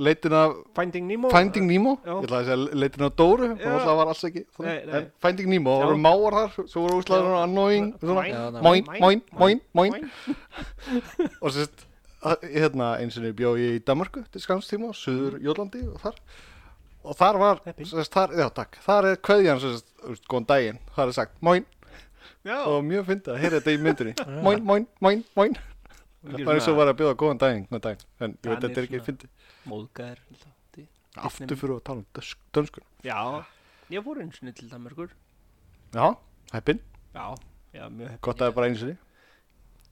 S2: leitin af
S1: Finding Nemo
S2: Finding Nemo,
S1: Já.
S2: ég ætlaði að segja leitin á Dóru,
S1: Já.
S2: það var alls ekki þannig.
S1: Nei, nei.
S2: En Finding Nemo, það
S1: Já.
S2: voru máar þar, svo voru úslaður og annoying, svona,
S3: Já,
S2: moin, moin, moin, moin, og sérst, hérna eins og niður bjó ég í Danmarku til skamstíma, Suður Jólandi og þar, og þar var,
S1: Heppin.
S2: sérst, þar, já takk, þar er kveðjan, sérst, þú veist, góðan daginn, þar er sagt, moin,
S1: Já,
S2: og mjög fyndið að heyra þetta í myndinni, moin, moin, moin, moin, það var eins og var að bjóða góðan daginn, góðan daginn, en ég veit að
S1: Danir
S2: þetta er ekki
S1: svona.
S2: fyndið,
S1: Móðgæðir til-
S2: aftur fyrir að tala um dönsk- dönskuna,
S1: Já, ég fór einu sinni til Danmarkur
S2: já, heppin,
S1: Já, já, mjög heppin
S2: gott að það er bara eins og niður.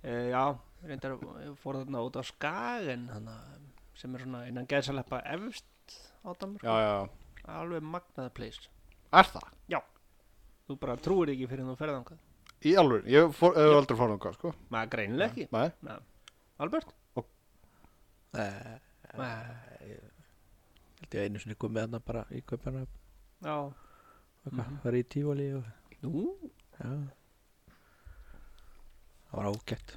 S1: e, Já, reyndar ég fór þarna út á Skagen hana, sem er svona innan geðsaleppa efst á Danmarku
S2: Já, já, já.
S1: Alveg magnaða place
S2: Er það?
S1: Þú bara trúir ekki fyrir þú ferðangað
S2: Í alveg, ég fór, hef aldrei farið þangað, sko.
S1: Maður greinileg ekki
S2: Nei.
S1: Nei. Albert?
S3: Eh,
S1: Nei.
S3: held ég að einu sinni komið þarna bara í köpana
S1: Já Mhm.
S3: var í tífali og
S1: Nú,
S3: já það var ágætt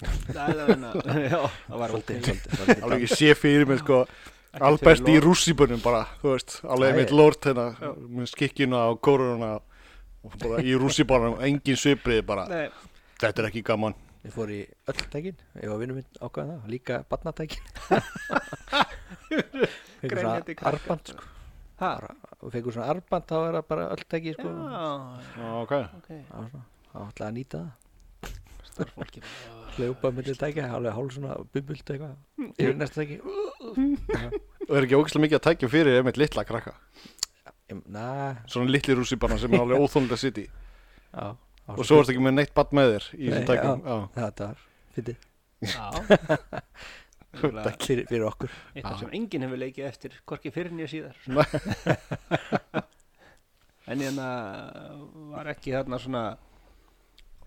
S1: það er það hérna Já, það var
S3: svolítið,
S1: ókei.
S3: svolítið, svolítið
S2: Alveg ég sé fyrir mig, sko,
S1: Ekki
S2: Albert
S1: fyrir
S2: í
S1: lok.
S2: rússibunum bara, þú veist, alveg
S3: Æ,
S2: mitt lort hérna,
S1: Já.
S2: með skikkjuna og kóruna og bara í rússibunum, engin sviprið bara,
S1: Nei,
S2: þetta er ekki gaman.
S3: Ég fór í öll tækin Ég var vinnum minn ákvæðan það Líka barnatækin Fengur
S1: Grenjandi
S3: svona
S1: krakkar.
S3: arband sko.
S1: Ha?
S3: Fengur svona arband Þá er það bara öll tæki sko.
S1: Já,
S2: ok
S1: ok
S3: Það var svona- það var alltaf að nýta það
S1: Starfólki
S3: Hljópa millir tækja Hálflega hálf svona bumbult eitthvað Yfir næsta tæki
S2: Og er ekki ógæslega mikið að tækja fyrir einmitt litla krakka
S3: Ég- Næ
S2: Svona litli rússipanna sem er alveg óþónlega sitt í
S3: Já
S2: Og svo ertu ekki með neitt badd með þér í
S3: Nei,
S2: þessum tækjum Já,
S3: Þetta var Fyndið
S1: Já
S3: fyrir, fyrir okkur
S1: Eitthvað sem enginn hefur leikið eftir Hvorki fyrir nýja síðar
S2: Nei.
S1: En hérna Var ekki þarna svona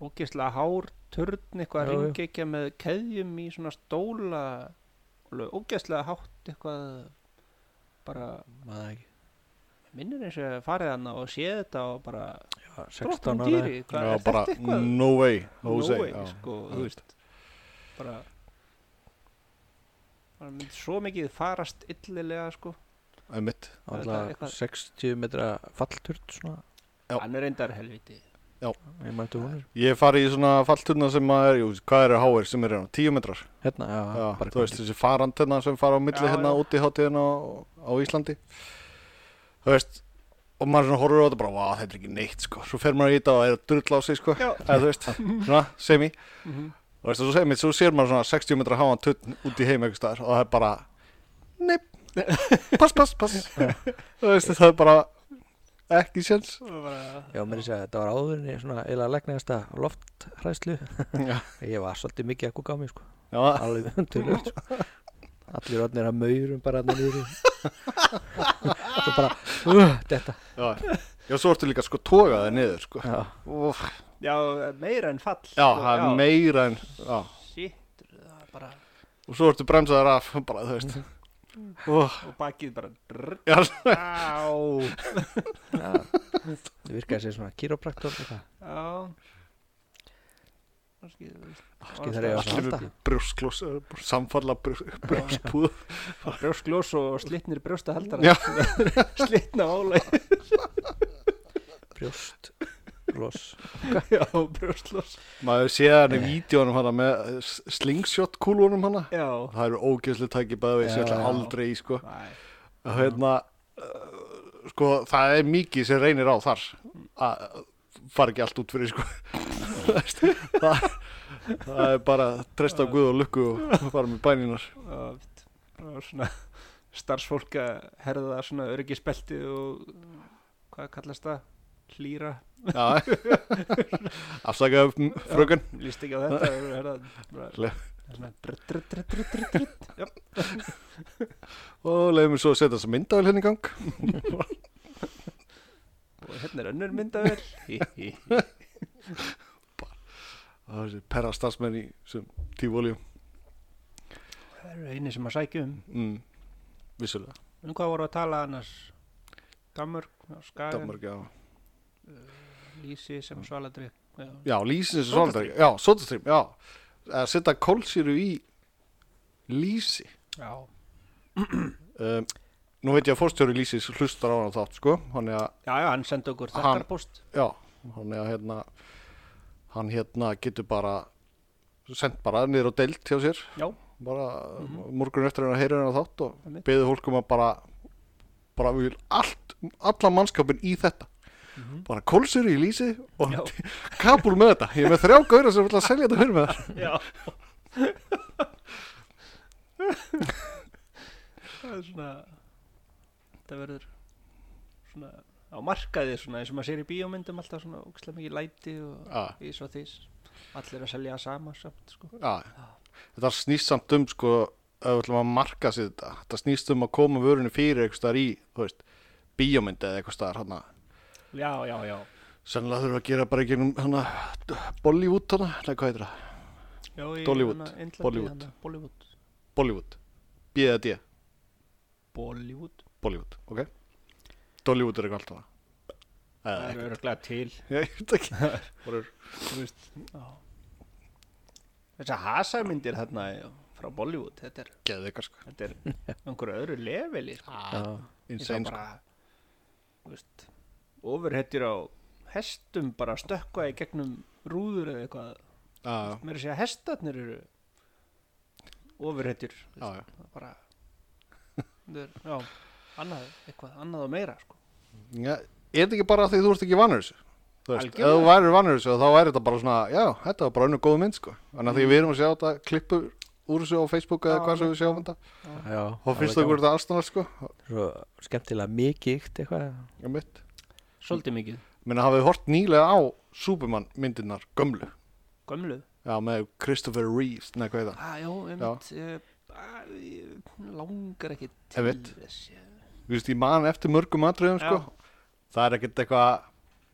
S1: Ógislega hár Törn eitthvað
S3: Jú, jú.
S1: ringekja með keðjum Í svona stóla alveg Ógislega hátt eitthvað Bara
S3: Maður ekki
S1: minnir eins og ég hafi farið hann og séð þetta og bara um
S3: Já, 16
S1: brottum
S3: ára
S1: dýri, hvað
S2: já
S1: er
S2: bara
S1: þetta eitthvað?
S2: no way
S1: Nói,
S2: Jose, já.
S1: sko, þú veist bara bara mynd svo mikið farast illilega, sko
S2: Einmitt
S1: Þetta er
S3: Alltaf
S1: eitthvað-
S3: 60 metra fallturt svona
S2: Já.
S1: hann er reyndar helviti
S3: Ég mætti hún er
S2: Ég hef farið í svona fallturna sem að er, jú, hvað eru háir sem eru hérna, tíu metrar
S3: Hérna, já,
S2: Já,
S3: bara
S2: þú veist, þessi farandina sem fara á milli
S1: Já,
S2: hérna
S1: já.
S2: úti hátíðina á, á Íslandi Þú veist, og maður svona horfur á þetta bara, vá, þetta er ekki neitt, sko Svo fer maður í þetta og er að drull á sig, sko
S1: Já.
S2: Eða þú veist, svona, semi
S1: Mhm.
S2: Þú veist, og svo, semi, svo sér maður svona 60 metra háan tunn út í heim einhvers staðar og það er bara, neip, pass, pass, pass Þú veist, það er bara ekki séns
S1: og bara
S3: Já, mér er að segja, þetta var áðurinni svona eiginlega legnaðist að lofthræslu
S2: Já,
S3: Ég var svolítið mikið að kúka á mig, sko
S2: já
S3: Alveg tölvöld, sko Allir orðnir að maurum bara hann niður Þetta bara, uh, þetta
S2: Já, já, svo ertu líka sko togaði niður sko.
S3: Já,
S2: Úff,
S1: já, meira en fall sko.
S2: Já, það er meira en já.
S1: shit, það er bara
S2: Og svo ertu bremsaðar af bara, þú veist Úff,
S1: og bakið bara drr,
S2: já,
S1: á,
S3: já Það virkaði sér svona kýrópraktor Ekki
S1: á kannski þú veist,
S3: þar ég að
S2: Allir
S3: halda
S2: með brjósklós eh, Samfalla brjóskpúð
S1: brjóskljós og slitnir brjóstahaldara
S2: Já.
S1: slitna álæg
S3: Brjóst, los
S1: já, brjóstljós
S2: Maður sé hann í vídjónum hana með eh, slingshot kúlunum hana
S1: já,
S2: Það eru ógjöfslega tæki bæði við sem ég
S3: Já,
S2: ætla
S1: já.
S2: aldrei í sko
S1: næ
S2: Og hérna uh, Sko, það er mikið sem reynir á þar að fara ekki allt út fyrir sko Þú veist, það, það er bara að treysta á guð og lukku og fara með bæninar
S1: og og svona starfsfólk að herða svona öryggisbelti og hvað kallast það? Hlýra?
S2: Já Afsakaðu m- fröken
S1: Lýst ekki á þetta og herða bara
S2: Le-
S1: svona drutt, drutt, drutt, drutt, drutt, drutt. Já,
S2: og leiðum við svo að setja þess að myndavel henni hérna í gang
S1: og hérna er önnur myndavel Hí, hí, hí.
S2: Það er þessi perra starfsmenn í sem tífóljum
S1: Það eru eini sem að sækja um
S2: mm, Vissulega,
S1: Um hvað voru að tala annars? Danmörk, Skagen,
S2: Danmark, já
S1: Lýsi sem svaladrykk Já,
S2: Já, lýsin sem svolítið Já, sótastrým, já Að setja kólsýru í lýsi
S1: já,
S2: um, Nú veit ég að fórstjóri lýsis hlustar á hana þátt, sko Hann er að,
S1: já, já, hann sendi okkur
S2: Hann-
S1: þakkarpost
S2: já, hann er að hérna Hann hérna getur bara sendt bara niður á deild hjá sér
S1: Já,
S2: bara mm morgun eftir að heyra hennar þátt og
S1: Mhm. Einmitt.
S2: beðið fólk um að bara bara við vil allt allan mannskapin í þetta bara kólsur í lýsi og
S1: Mhm. Já.
S2: kapul með þetta ég er með þrjá gauðra sem vil að selja þetta fyrir með þar
S1: Já Það er svona Það verður svona á markaði svona eins og maður sér í bíómyndum alltaf svona ógstlega mikið læti og
S2: ja,
S1: ís og þís allir að selja sama samt sko
S2: ja. þetta snýst samt um sko ef við ætlum að marka sér þetta þetta snýst um að koma vörunni fyrir eitthvað staðar í þú veist, bíómyndi eða eitthvað staðar hana
S1: Já, já, já
S2: sennilega þurfum við að gera bara í gegnum hana Bollywood hana, nei hvað heitir það
S1: Já, í
S2: Dollywood,
S1: hana Indlandi,
S2: Bollywood.
S1: hana, Bollywood
S2: Bollywood, B.A.D.
S1: Bollywood
S2: Bollywood, ok Dollywood er eitthvað allt það
S1: Það
S2: Eða,
S1: eru örglega til
S2: ég veit ekki Bara er-
S1: þú veist já. Þessar hasarmyndir þarna frá Bollywood þetta er,
S2: Geðið eitthvað sko
S1: þetta er einhverju öðru leveli sko.
S3: Já,
S2: Insane sko
S1: sko veist, ofurhettir á hestum bara stökkva í gegnum rúður eða eitthvað
S2: já,
S1: mér er að segja að hestarnir eru ofurhetjur þú
S2: já,
S1: veist, það
S2: já.
S1: er bara það er, já, annað, eitthvað annað og meira sko.
S2: Já, er þetta ekki bara af því að þú ert ekki vanur þessu? Þú veist, ef
S1: Algjörlega.
S2: þú værir vanur þessu þá væri þetta bara svona, já, þetta var bara önnu góð mynd sko. Þannig að því við erum að sjá þetta klippur úr þessu á Facebook eða
S1: Mm. Já,
S2: hvað sem við sjáum þetta
S3: Já,
S2: þá finnst okkur þetta allstanar sko
S3: Svo skemmtilega mikilt eitthvað
S2: á mitt.
S1: svolítið mikið,
S2: Menna hafið hort nýlega á Superman myndirnar gömlu
S1: gömluð
S2: já, með Christopher Reeves, neða hvað heita
S1: ah, já, einmitt eh, ah, ég langar ekki til
S2: Einmitt.
S1: þess ég-
S2: Þú veist, ég man eftir mörgum atriðum
S1: Já.
S2: sko það er ekkert eitthvað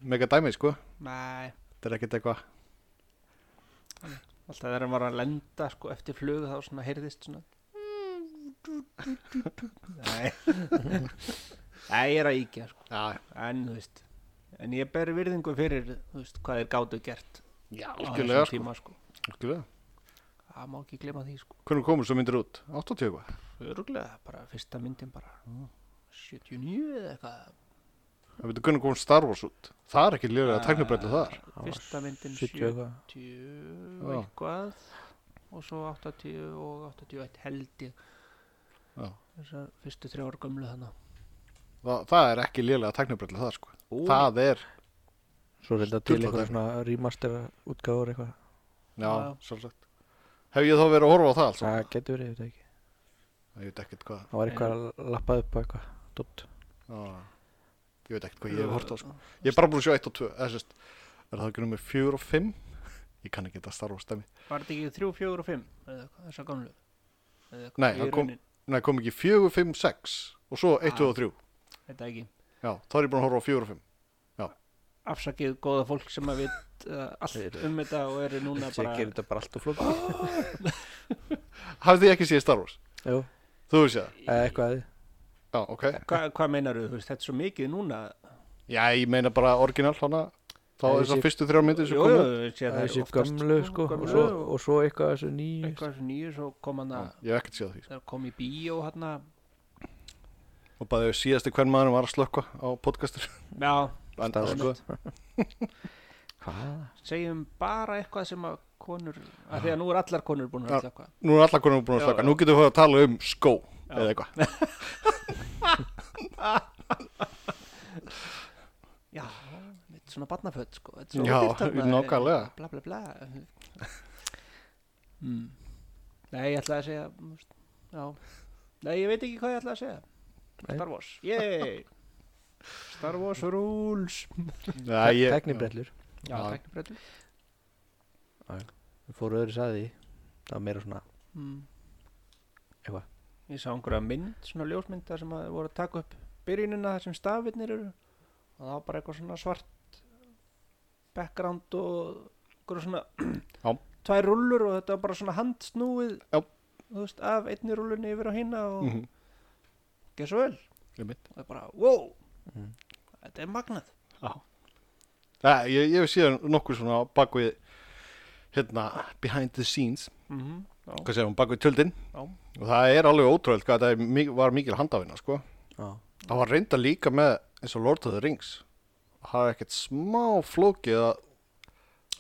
S2: mega dæmi sko,
S1: nei,
S2: þetta er ekkert eitthvað
S1: alltaf þegar hann var að lenda sko, eftir flug þá svona heyrðist svona nei nei, ég er að íkja sko.
S2: Já,
S1: en þú veist en ég ber virðingu fyrir þú veist, hvað þeir gátu gert
S2: já,
S1: á þessum
S2: algjörlega sko,
S1: tíma, sko.
S2: algjörlega
S1: það má ekki glema því sko.
S2: Hvernig komur svo myndir út? 80 eitthvað?
S1: öruglega, bara fyrsta myndin bara 79 eða eitthvað
S2: Það veitur hvernig kom Star Wars út Það er ekki lýrið að tæknubreitlu þar
S3: var
S1: fyrsta myndin
S3: 70
S1: 70
S3: eitthvað
S2: Já.
S1: eitthvað og svo 80 og 81 held ég
S2: Já.
S1: þessar fyrstu þrjá ára gömlu þannig
S2: það, það er ekki lýrið að tæknubreitlu þar sko.
S1: Ó.
S2: Það er
S3: Svo reynda til
S2: Sturla
S3: einhverja
S2: dæmi.
S3: svona remaster útgáður eitthvað
S2: Já,
S1: Já.
S2: svolítið Hef ég þá verið að horfa á það alls?
S3: Það getur verið, ég veit það ekki
S2: Ég veit ekkert hvað
S3: Það var eitthvað að lappað upp á eitthvað Dótt
S2: Já. Ég veit ekkert hvað ég hef hort á sko. Ég er bara búin að sjá 1 og 2 eða, sérst, Er það ekki nummer 4 og 5? Ég kann ekki þetta Star Wars stæmi
S1: var þetta ekki 3, 4 og 5 eða eitthvað, þessar gömlu Eða eitthvað,
S2: Nei,
S1: í
S2: það kom-
S1: raunin,
S2: Nei, kom ekki 4, 5, 6 Og svo 1, 2 og 3
S1: þetta ekki
S2: Já, þá er ég búin að horfa á 4 og 5
S1: afsakið góða fólk sem að vit uh, allt
S3: Þeir-
S1: um þetta og eru núna
S3: Ég
S1: bara
S3: gerir þetta bara allt og flókið
S2: Hafið þið ekki séð Star Wars?
S3: Jú,
S2: Þú veist það?
S3: eða eitthvað að því
S2: Já, ok
S1: Hva, hvað meinaru, þú veist, þetta er svo mikið núna
S2: Já, ég meina bara orginal hana Þá
S3: Nei, ég
S2: þessar
S3: sé-
S2: fyrstu þrjár myndir sem
S1: Jú,
S2: komu
S1: jú,
S2: út.
S1: ég sé að
S3: Það
S1: það
S3: er
S1: er
S3: sér
S1: oftast
S3: gömlu sko og
S1: gömlu
S3: svo, og svo eitthvað þessu nýju
S1: eitthvað sem nýju svo kom hann
S2: Já,
S1: að
S2: Ég hef ekkert séð því sko.
S1: það kom í bíó hérna. hann að
S2: og bara síðasti hvern maður var að slökka á podcastur
S1: já,
S2: En-
S3: Star Wars.
S2: sko,
S3: Hvað?
S1: segjum bara eitthvað sem að konur að því að nú er allar konur búin að
S2: Já.
S1: ætla eitthvað
S2: nú er allar konum búin
S1: Já,
S2: að
S1: já.
S2: slökka nú getum við að tala um skó eða eitthvað
S1: já, mitt svona barnaföld sko þetta er svo
S2: Já,
S1: ódýrt þarna,
S2: nákvæmlega.
S1: eh, bla bla bla mm. nei, ég ætlaði að segja mm, já, nei, ég veit ekki hvað ég ætlaði að segja
S3: Nei.
S1: Star Wars, yey Star Wars rules
S2: Já, ég-
S3: Teknibrellur
S1: já,
S2: Já.
S1: tæknibreytu
S3: Fóru öðru saði Það var meira svona
S1: mm.
S3: Eitthvað.
S1: ég sá einhverja mynd, svona ljósmynda sem að voru að taka upp byrjunina þar sem stafirnir eru og það var bara eitthvað svona svart background og einhverja svona
S2: Já.
S1: tvær rullur og þetta var bara svona handsnúið
S2: Já.
S1: þú veist, af einni rullunni yfir á hina og mm
S2: Mhm,
S1: svo vel
S2: einmitt.
S1: og það er bara, wow
S2: Mhm.
S3: Mm.
S1: þetta er magnað
S2: Já, ég ég hef síðan nokkur svona bak við hérna behind the scenes
S1: mm -hmm.
S2: hvað segja hún bak við tjöldin
S1: Já.
S2: og það er alveg ótrúlega hvað það er mi- var mikil handafina sko.
S3: Já,
S2: það var reynda líka með eins og Lord of the Rings það er ekkert smá flókið að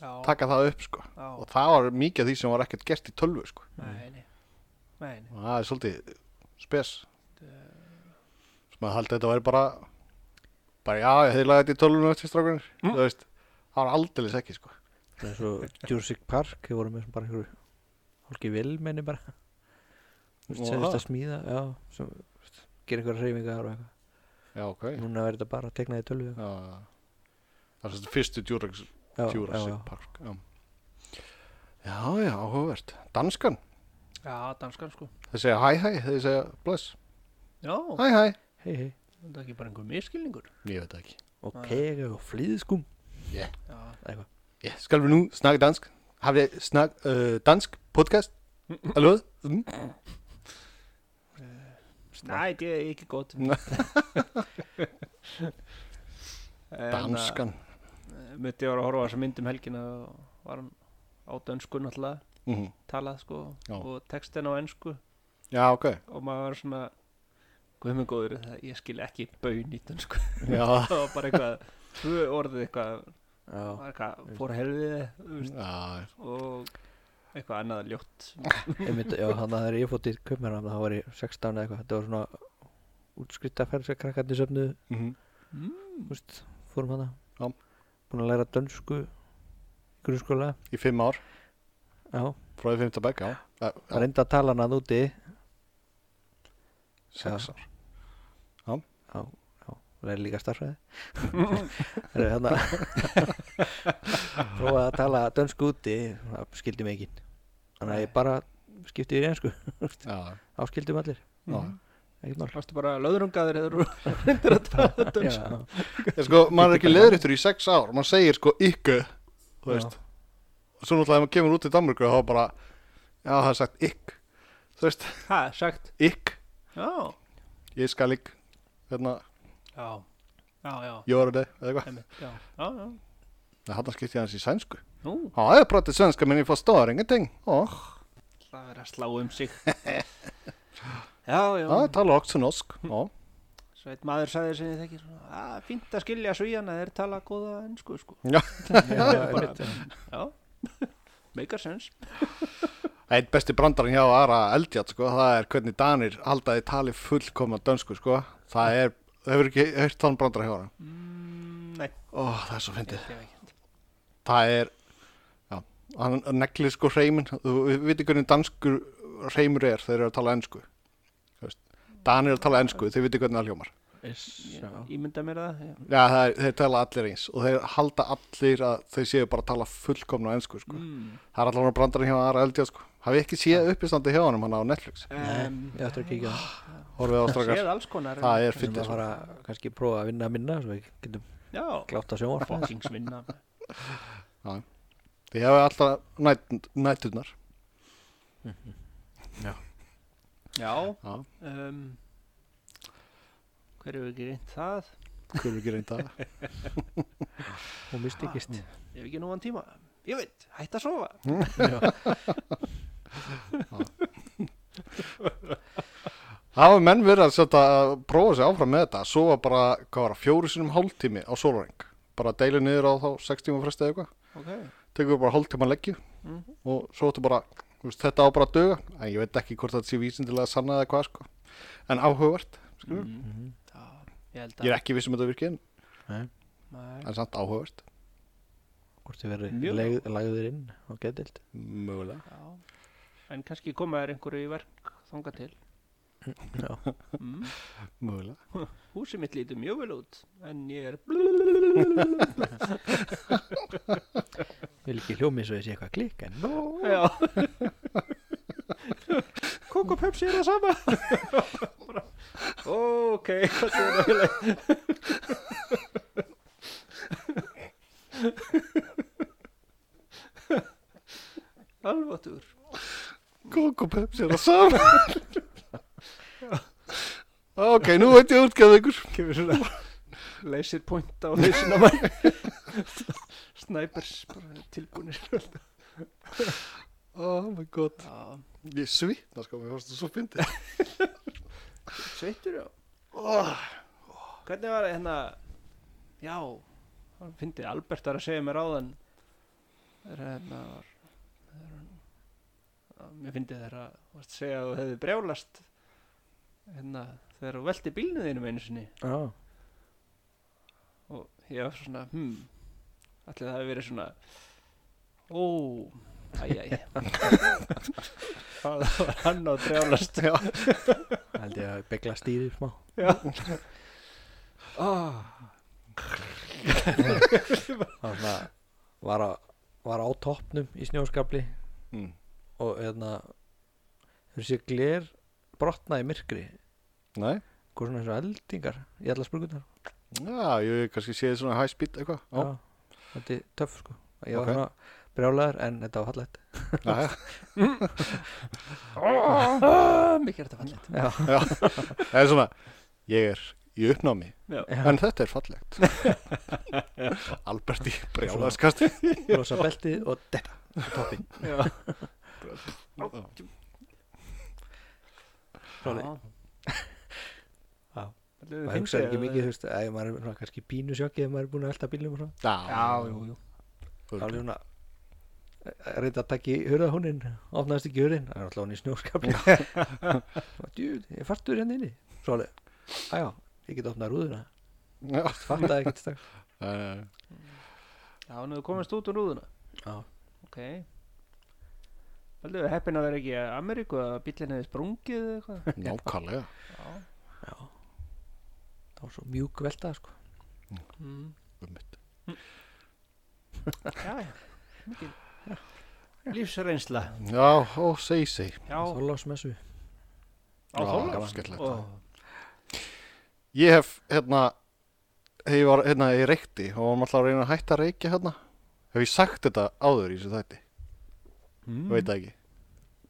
S1: já,
S2: taka það upp sko.
S1: já,
S2: og það var mikið af því sem var ekkert gert í tölvu sko.
S1: nei, nei, nei, nei.
S2: og það er svolítið spes sem að haldi þetta væri bara bara já, ég hefði lagði þetta í tölvunum eftir strákunir
S1: Mm.
S2: þú veist, það var aldeilis ekki sko
S3: það er svo Jurassic Park Þau voru með svona bara einhverju Hálki vilmenni bara Þú veist,
S2: Nú,
S3: sem
S2: það.
S3: þetta smíða Já, sem þú veist, gera einhverja reyfingar og eitthvað
S2: já, ok já,
S3: Núna verður þetta bara að tekna í tölvu
S2: já. það er svolítið fyrstu Jurassic,
S3: Já, já,
S2: Jurassic
S3: já.
S2: Park já. já, já, áhugavert danskan,
S1: já, danskan sko
S2: þeir segja hæ hæ þeir segja bless,
S1: já,
S2: hæ hæ
S3: Hei, hei
S1: þetta er ekki bara einhver miskilningur
S2: ég veit það ekki
S3: Og pega og flýðskum
S1: já,
S3: Eitthvað
S2: yeah. skal við nú snakka dansk hafið þið snak, uh, dansk podcast alveg mm.
S1: Nei, det er ikke godt.
S2: Nei.
S1: En,
S2: danskan
S1: eh, Mutti var að horfa á þessa mynd um helgina og var hann á dönsku náttúrulega
S2: mm.
S1: talað sko
S2: Já.
S1: og textin á ennsku
S2: já, ok
S1: og maður var svona guðmur góður það ég skil ekki baun í dönsku
S2: já,
S1: það var bara eitthvað tvö orðið eitthvað
S3: já,
S1: var eitthvað fór helfið
S2: Já,
S1: og eitthvað annað ljótt
S3: einmitt, já, þannig að þegar ég fótt í Kaupmannham þá var ég 16 eða eitthvað, þetta var svona útskrittaferð sem krakkandi söfnu
S2: mhm,
S3: veist, fórum hana
S2: Já.
S3: búin að læra dönsku í grunnskóla
S2: í fimm ár
S3: já,
S2: frá því fimmta bekk, já, Eh, já
S3: reynda að tala hana úti
S2: sex ár
S3: já, já, læri líka starfræði það er hérna prófaði að tala dönsku úti það skildi mig ekki þannig að ég bara skipti í reynsku
S2: já,
S3: þá skildum allir,
S2: já.
S3: ekkert mál
S1: varstu bara löðrungaður eða þú reyndir að tala dönsku
S3: Já,
S2: Ég, sko, maður er ekki leðrýttur í sex ár maður segir sko ykku þú
S3: Já.
S2: veist og svo náttúrulega ef maður kemur út í Danmörku þá bara já, það er sagt ykk þú veist,
S1: ha, sagt
S2: ykk,
S1: já,
S2: ég skal ykk hérna,
S1: já, já, já,
S2: ég var að deg eða eitthvað,
S1: einmitt, já, já, já.
S2: það hann skipti ég hans í sænsku
S1: nú,
S2: já, ég pratið svenska minn, ég fór stóðar, ingenting og,
S1: það verið að slá um sig já, já,
S2: já, ég tala okkur norsk já,
S1: svo eitt maður sagði sem ég þekki svona, að fínt að skilja svíjana þeir tala góða ennsku sko
S2: Já.
S1: já, bara, já. meikar sens
S2: einn besti brandarinn hjá Ara Eldjátt sko, það er hvernig Danir haldaði tali fullkomna dönsku sko, það er, hefur ekki heyrt þann brandar hjá Ara,
S1: mm, nei,
S2: ó, það er svo fyndið
S1: ég hef ekki
S2: það er já, hann neglir sko hreimin þú veitir hvernig danskur hreimur er þegar þeir eru að tala ennsku Danir eru að tala ennsku, þeir veitir hvernig það hljómar
S3: já,
S1: ég, ímynda mér það já.
S2: já, það er, þeir tala allir eins og þeir halda allir að þeir séu bara að tala fullkomna ennsku sko.
S1: Mm.
S2: það er allan að brandarinn hjá Ara Eldjá sko. hafi ekki séð uppistandi hjá honum hann á Netflix
S1: Um,
S3: ég ætti að kíkja á það.
S2: horfið á strákar,
S1: séð alls konar
S2: það er
S3: Þessum
S2: fyndið
S3: að
S2: sko.
S3: fara kannski prófa að vinna að minna svo við getum
S1: já,
S3: glátt að sjónvarpa
S1: fokkingsvinna
S2: þið hefur alltaf næt, næturnar
S1: já,
S2: já,
S1: um, hver hefur ekki reynt það
S2: hver er ekki reynda
S3: Hún
S2: Ah,
S3: mistikist
S1: ég hef ekki núan tíma ég veit, hætt að sofa
S2: Það hafa menn verið að setja að prófa sig áfram með þetta svo var bara, hvað var það, fjóru sinum hálftími á sólring, bara deilu niður á þá 6 tíma fresti eða eitthvað,
S1: ok,
S2: tekur bara hálftíma leggju
S1: Mhm.
S2: og svo ættu bara, þú veist, þetta á bara að döga en ég veit ekki hvort þetta sé vísindilega sanna eða hvað sko, en áhugavert skilur.
S1: mm.
S3: Mhm.
S1: já, ég held
S2: Sko. ég
S1: að
S2: er ekki vissum þetta virki en,
S1: Nei.
S2: en samt áhugavert
S3: Hvort þið verður
S1: Mjög.
S3: leg- lagður inn á getild
S2: mögulega,
S1: Já, en kannski koma þér einhverju í verk þanga til.
S3: Já.
S1: Mm.
S2: mögulega
S1: Húsið mitt lítur mjög vel út, en ég er...
S3: Vil ekki hljómi svo ég sé eitthvað klikk en no.
S1: Já. Kók og Pepsi er það sama. Bara, ok, hvað er það vilja? Alvatur.
S2: Kók og Pepsi er það saman Ok, nú veit ég útgæða ykkur
S1: kemur svona laser point á hausin á mann snipers bara tilbúinir
S2: Oh my god,
S1: já,
S2: ég svitna sko, mér fannst það svo fyndið
S1: sveittur já
S2: oh.
S1: hvernig var hérna já, hann fyndi Albert var að segja mér áðan þegar hérna var þegar hann að mér fyndi þegar að þú varst að segja að þú hefði brjálast hérna þegar þú velti bílnum þínum einu sinni
S3: Já,
S1: og ég var svona hmm, allir það hafi verið svona ó, æjæj það var hann á drjálast já,
S3: held ég að begla stýrið smá
S1: já. Oh,
S3: Það var svona var, á- var á toppnum í snjóskabli
S2: mm.
S3: og hérna hefur sér gler brotna í myrkri
S2: Nei
S3: hvað svona eins og eldingar í alla spurgunnar
S2: Já, ég hef kannski séð svona high speed eitthvað Já,
S3: Þetta er töff sko Ég var
S2: Ok.
S3: svona brjálæður en þetta var fallegt
S2: já,
S1: oh, mikið er þetta fallið
S3: Já,
S2: já Það er svona, ég er í uppnámi
S1: já,
S3: já.
S2: En þetta er fallegt Albert í brjálaðskast
S3: losa beltið og detta toppin
S1: já.
S3: Svoleið.
S1: Já.
S3: Já.
S1: Ætli þið
S3: maður hugsa
S1: fyndið
S3: ekki
S1: ef
S3: mikið,
S1: þið-
S3: þú veist, að maður er svona kannski pínu sjokkið ef maður er búin að elta bílum og svona
S1: Já, jú, jú
S3: þá er svona að reynda að taka í hurða húnin opnaðist ekki hurðin, það er alltaf hún í snjóskapli djúð, ég fartur hérna inni svo alveg, aðjá, ég get opnað rúðuna
S2: Já,
S3: fattaði ekkert strax
S2: já, já.
S1: Já, nú þið komist út úr rúðuna
S3: já,
S1: Ok Heldur við heppin að vera ekki í Ameríku að bíllinn hefði sprungið eða eitthvað
S2: nákvæmlega
S1: Já
S3: já það var svo mjúk velta sko
S1: mm.
S2: Einmitt.
S1: Já, já, mikil Lífsreynsla
S2: Já, ó, segi, segi
S1: Já, á
S3: þorlásmessu,
S1: Þorláks
S2: skellilegt.
S1: Ó,
S2: Ég hef, hérna þegar ég var, hérna, ég reykti og var alltaf að reyna að hætta að reykja hérna hef ég sagt þetta áður í þessu þætti mm. veit það ekki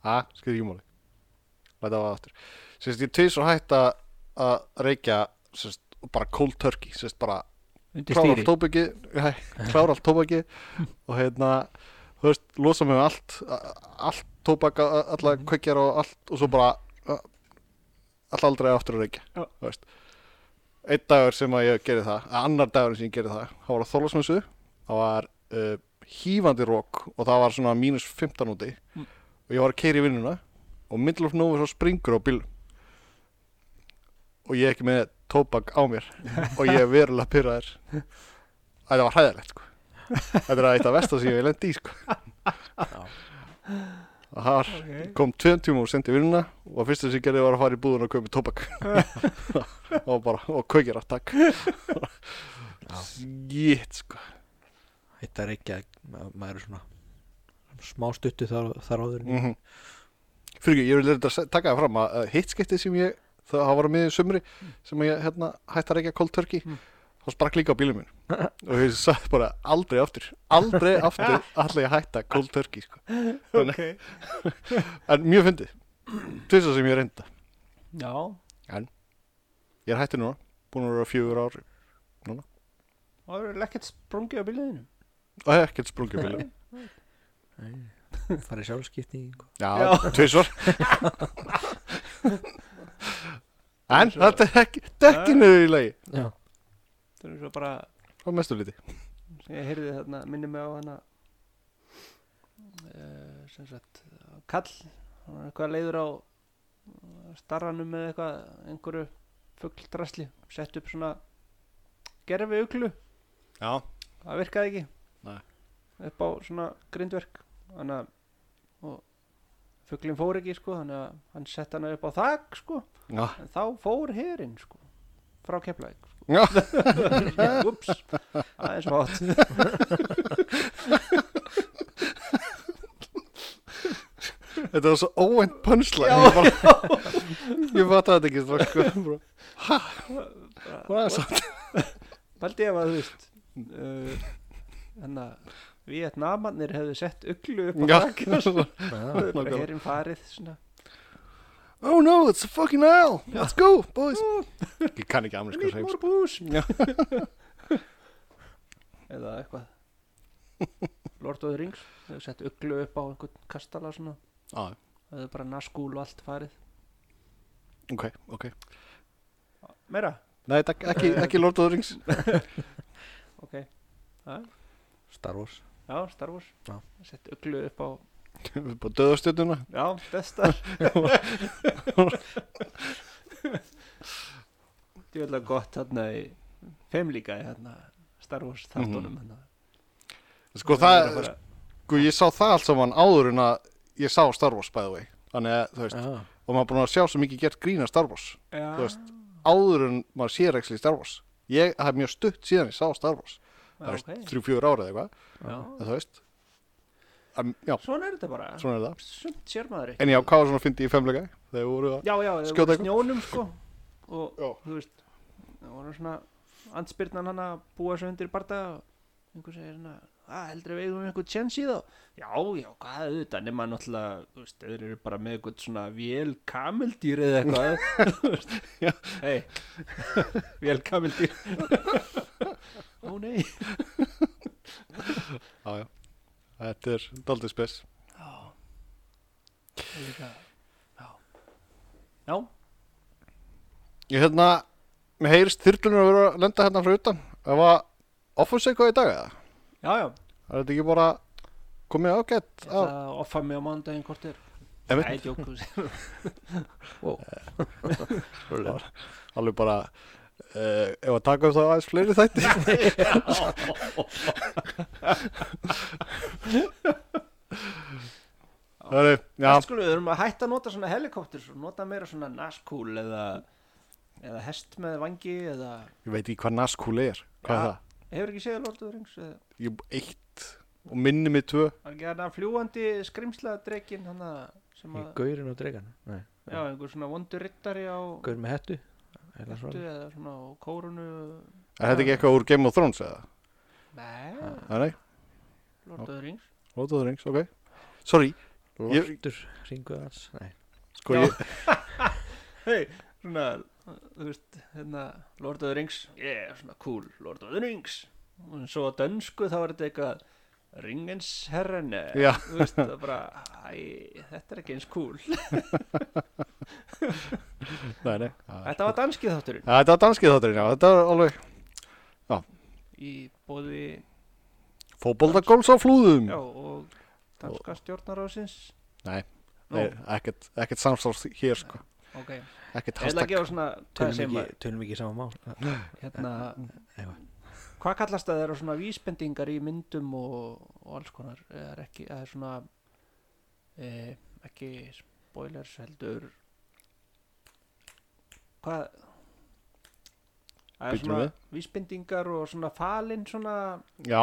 S2: a, skriði ekki máli læta það aftur sérst, ég tvis og hætta að reykja sérst, bara cold turkey sérst, bara
S1: Undir
S2: klára allt
S1: stýri
S2: tóbaki klára allt tóbaki og hérna, þú veist, losa mig um allt a- allt tóbak, a- alla
S1: Mhm.
S2: kveikjar og allt og svo bara a- all aldrei aftur að reykja
S1: Já.
S2: þú veist einn dagur sem að ég gerði það, að annar dagur sem ég gerði það, það var að þólasmessu það var uh, hýfandi rók og það var svona mínus 15 úti
S1: Mm.
S2: og ég var að keira í vinnuna og middle of nowhere svo springur á bíl og ég er ekki með tóbak á mér og ég er verulega pyrraður Þetta var hræðilegt sko. Þetta er eitt af versta sem ég hef lendi í sko.
S3: Já.
S2: Og það var,
S1: Ok.
S2: kom tveim tíma og sendi vinnuna og fyrst sem ég gerði var að fara í búðun og köpa tóbak og bara, og kveikir að takk Jít sko
S3: þetta er ekki að ma- maður er svona smá stuttu þar, þar áður
S2: mm Fyrir ekki, ég vil leita að taka það fram að að hitt skiptið sem ég, það það var að miðið sumri sem ég hérna, hætti að reykja cold turkey
S1: Mm.
S2: þá sprakk líka á bílum minn og ég sagði bara aldrei aftur aldrei aftur ætla ég að hætta cold turkey sko.
S1: Ok
S2: en mjög fyndið tvisar sem ég reynda
S1: Já,
S2: ég er hætti núna, búin að vera fjögur ár
S1: það eru lekkert sprungið á bílliðinu
S2: og hef ekkert sprungið bílum
S3: farið sjálfskipting
S2: já,
S1: Já.
S2: tvisar en þetta er ekki dekkinu í lagi
S3: já,
S1: Það eru svo bara
S2: á mestu liti
S1: sem ég heyrði þarna, minni mig á hana uh, sem sagt kall, hann var eitthvað leiður á eh, starranum með eitthvað einhverju fuggldræsli sett upp svona gerfi uglu,
S2: já,
S1: það virkaði ekki
S2: Nei.
S1: upp á svona grindverk þannig að og fugglinn fór ekki sko þannig að hann sett hana upp á þak sko
S2: já,
S1: en þá fór herinn sko frá Keflavík
S2: já.
S1: Ups, aðeins hátt
S2: Þetta var svo óvænt pönsla Ég bara Ég fatt þetta ekki strax sko. Bara aðeins að-
S1: Paldi ef að þú veist uh, Þannig að Vietnamannir hefðu sett uglu upp á
S2: Já.
S1: þak og svo
S3: já,
S1: hefðu bara
S2: nákvæmlega.
S1: herinn farið svona
S2: Oh no, it's a fucking owl Let's go, boys Ég kann ekki ameríska
S1: Need
S2: hreim
S1: more booze Eða eitthvað Lord of the Rings hefðu sett uglu upp á einhvern kastala svona
S2: ah,
S1: hefðu bara naskúl og allt farið
S2: Ok, ok
S1: Meira?
S2: Nei, takk, ekki, ekki Lord of the Rings
S1: Ok,
S3: Star Wars
S1: já, Star Wars
S3: Já.
S1: sett uglu upp á
S2: Við bara döðastjötuna
S1: Já, bestar Ég vil að gott þarna í Femlíka í þarna Star Wars þáttunum mm
S2: Mhm. Sko það, sko ég sá það allt saman áður en að Ég sá Star Wars by the way Þannig að, þú veist,
S3: já,
S2: og maður er búin að sjá svo mikið gert grína Star Wars
S1: Já,
S2: þú veist, Áður en maður sér ekki Star Wars Ég, það er mjög stutt síðan ég sá Star Wars
S1: já,
S2: Það
S1: Ah, ok
S2: er þrjú, fjögur árið eitthvað
S1: já.
S2: en þú veist um, Já,
S1: Svona er þetta bara
S2: svona er það
S1: Sumt sér maður ekki
S2: En já, hvað var svona fyndi í femleika? Þegar voru það
S1: Já, já, það voru
S2: Skjóta eitthvað.
S1: snjónum sko og
S2: Já.
S1: þú veist það voru svona andspyrnan hann að búa svo undir barða og einhver segir svona að heldur við eigum einhver tjens í þá já, já, hvað er þetta nema náttúrulega, þú veist, þeir eru bara með einhvern svona vél kamildýr eða eitthvað Þú veist,
S2: Já.
S1: hei, vél kamildýr ó nei
S2: Já, já Þetta er daldið spes
S1: já, það er líka já, já,
S2: Ég hérna, mér heyrist þyrlunum að vera að lenda hérna frá utan Það var offense eitthvað í dag eða?
S1: Já, já,
S2: Er þetta ekki bara komið ágætt?
S1: ég ætla að offa mig á mánudaginn hvort er
S2: Einmitt.
S1: Nei, djóku
S2: Á, alveg bara uh, ef að taka upp þá aðeins fleiri þætti Það er, já,
S1: Það skulum, við erum að hætta að nota svona helikopter svo nota meira svona naskúl eða, eða hest með vangi eða
S2: ég veit ekki hvað naskúli er
S1: Já.
S2: Hvað er það?
S1: hefur ekki séð Lord of the Rings eða
S2: Ég er eitt og minni mig tvö
S1: var ekki hann að fljúandi skrimsla drekinn hann að sem
S3: Í
S1: að
S3: gaurin og dregan Nei,
S1: já, einhver svona vondur rittari á
S3: gaur með hettu Eða
S1: Ertu
S3: svona.
S1: eða svona á kórunu
S2: Er þetta ekki eitthvað úr Game of Thrones eða?
S1: Nei,
S2: Það nei,
S1: Lord of the Rings
S2: Lord of the Rings, ok Sorry, Ég-
S3: Lortur, ringuð hans Nei,
S2: sko
S1: Já.
S2: ég
S1: Hei, svona, þú veist, hérna, Lord of the Rings, yeah, svona cool, Lord of the Rings. Og svo á dönsku þá er þetta eitthvað, Ringens herrene,
S2: Já.
S1: þú veist, það er bara, æ, þetta er ekki eins cool.
S2: Nei, nei Já,
S1: Þetta var danski þátturinn
S2: Þetta var danskið þátturinn, já, þetta er alveg
S1: í bóði,
S2: Fótbolta góls á flúðum
S1: já, og danska stjórnarásins.
S2: Nei,
S1: Nú,
S2: Nei, ekkert, ekkert samstáls hér sko
S1: ok, ég
S2: Ekkert
S1: ætla
S2: hashtag
S1: ekki á svona, hvað
S3: tölum
S1: sem
S3: ekki,
S1: maður,
S3: tölum ekki sama mál
S1: hérna,
S3: Eða.
S1: hvað kallast það, það eru svona vísbendingar í myndum og, og alls konar, það er ekki, það er svona, e, ekki spoilers heldur, hvað, það er
S2: Bíddu
S1: svona
S2: við.
S1: vísbendingar og svona falin svona,
S2: Já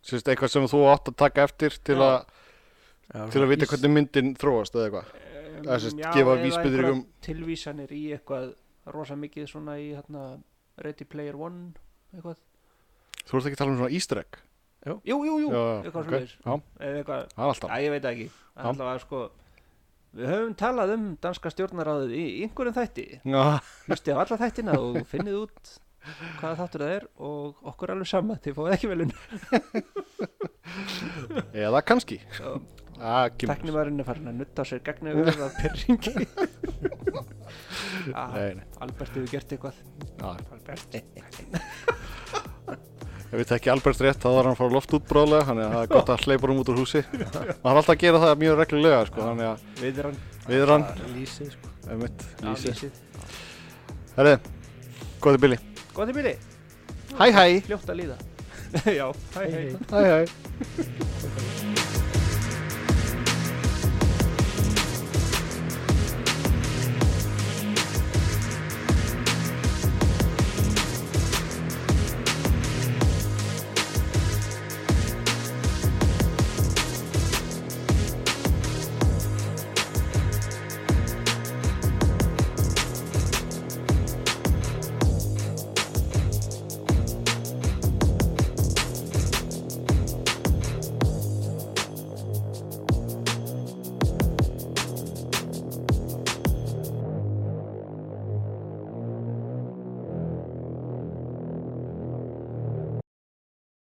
S2: Sérst eitthvað sem þú átt að taka eftir til,
S1: Já.
S2: a, til að vita hvernig myndin þróast eða eitthvað
S1: um,
S2: Það er sem sagt gefa vísbendingar um-
S1: tilvísanir í eitthvað rosa mikið svona í hérna Ready Player One eitthvað
S2: Þú ert ekki að tala um svona easter egg
S1: jú, jú, jú,
S2: Já,
S1: eitthvað
S2: ok.
S1: svoleiðis.
S2: Já.
S1: eða eitthvað
S2: Það er alltaf
S1: Já, ég veit það ekki
S2: Já.
S1: Alltaf að sko Við höfum talað um danska stjórnaráðið í einhverjum þætti
S2: Já,
S1: Hlustið á alla þættina og finnið út hvaða þáttur það er og okkur er alveg sama þið fáið ekki velun
S2: Eða kannski ah, Nei,
S1: Teknimarinn er farin að nutta sér gegn yfir það perringi ah,
S2: nei,
S1: Albert hefur gert eitthvað
S2: já,
S1: Albert
S2: ef við tekki Albert rétt þá var hann að fara á loft út bráðlega þannig að það er gott að hleypa hann út úr húsi maður er alltaf að gera það mjög reglulega sko, þannig að
S1: Við er hann
S2: við erum hann
S3: Lýsið sko
S2: einmitt, lýsi
S1: Lýsið
S2: Herri, góði Billy
S1: Góði bíli,
S2: Hæ hæ
S1: fljótt að líða Já, hæ hæ
S2: Hæ hæ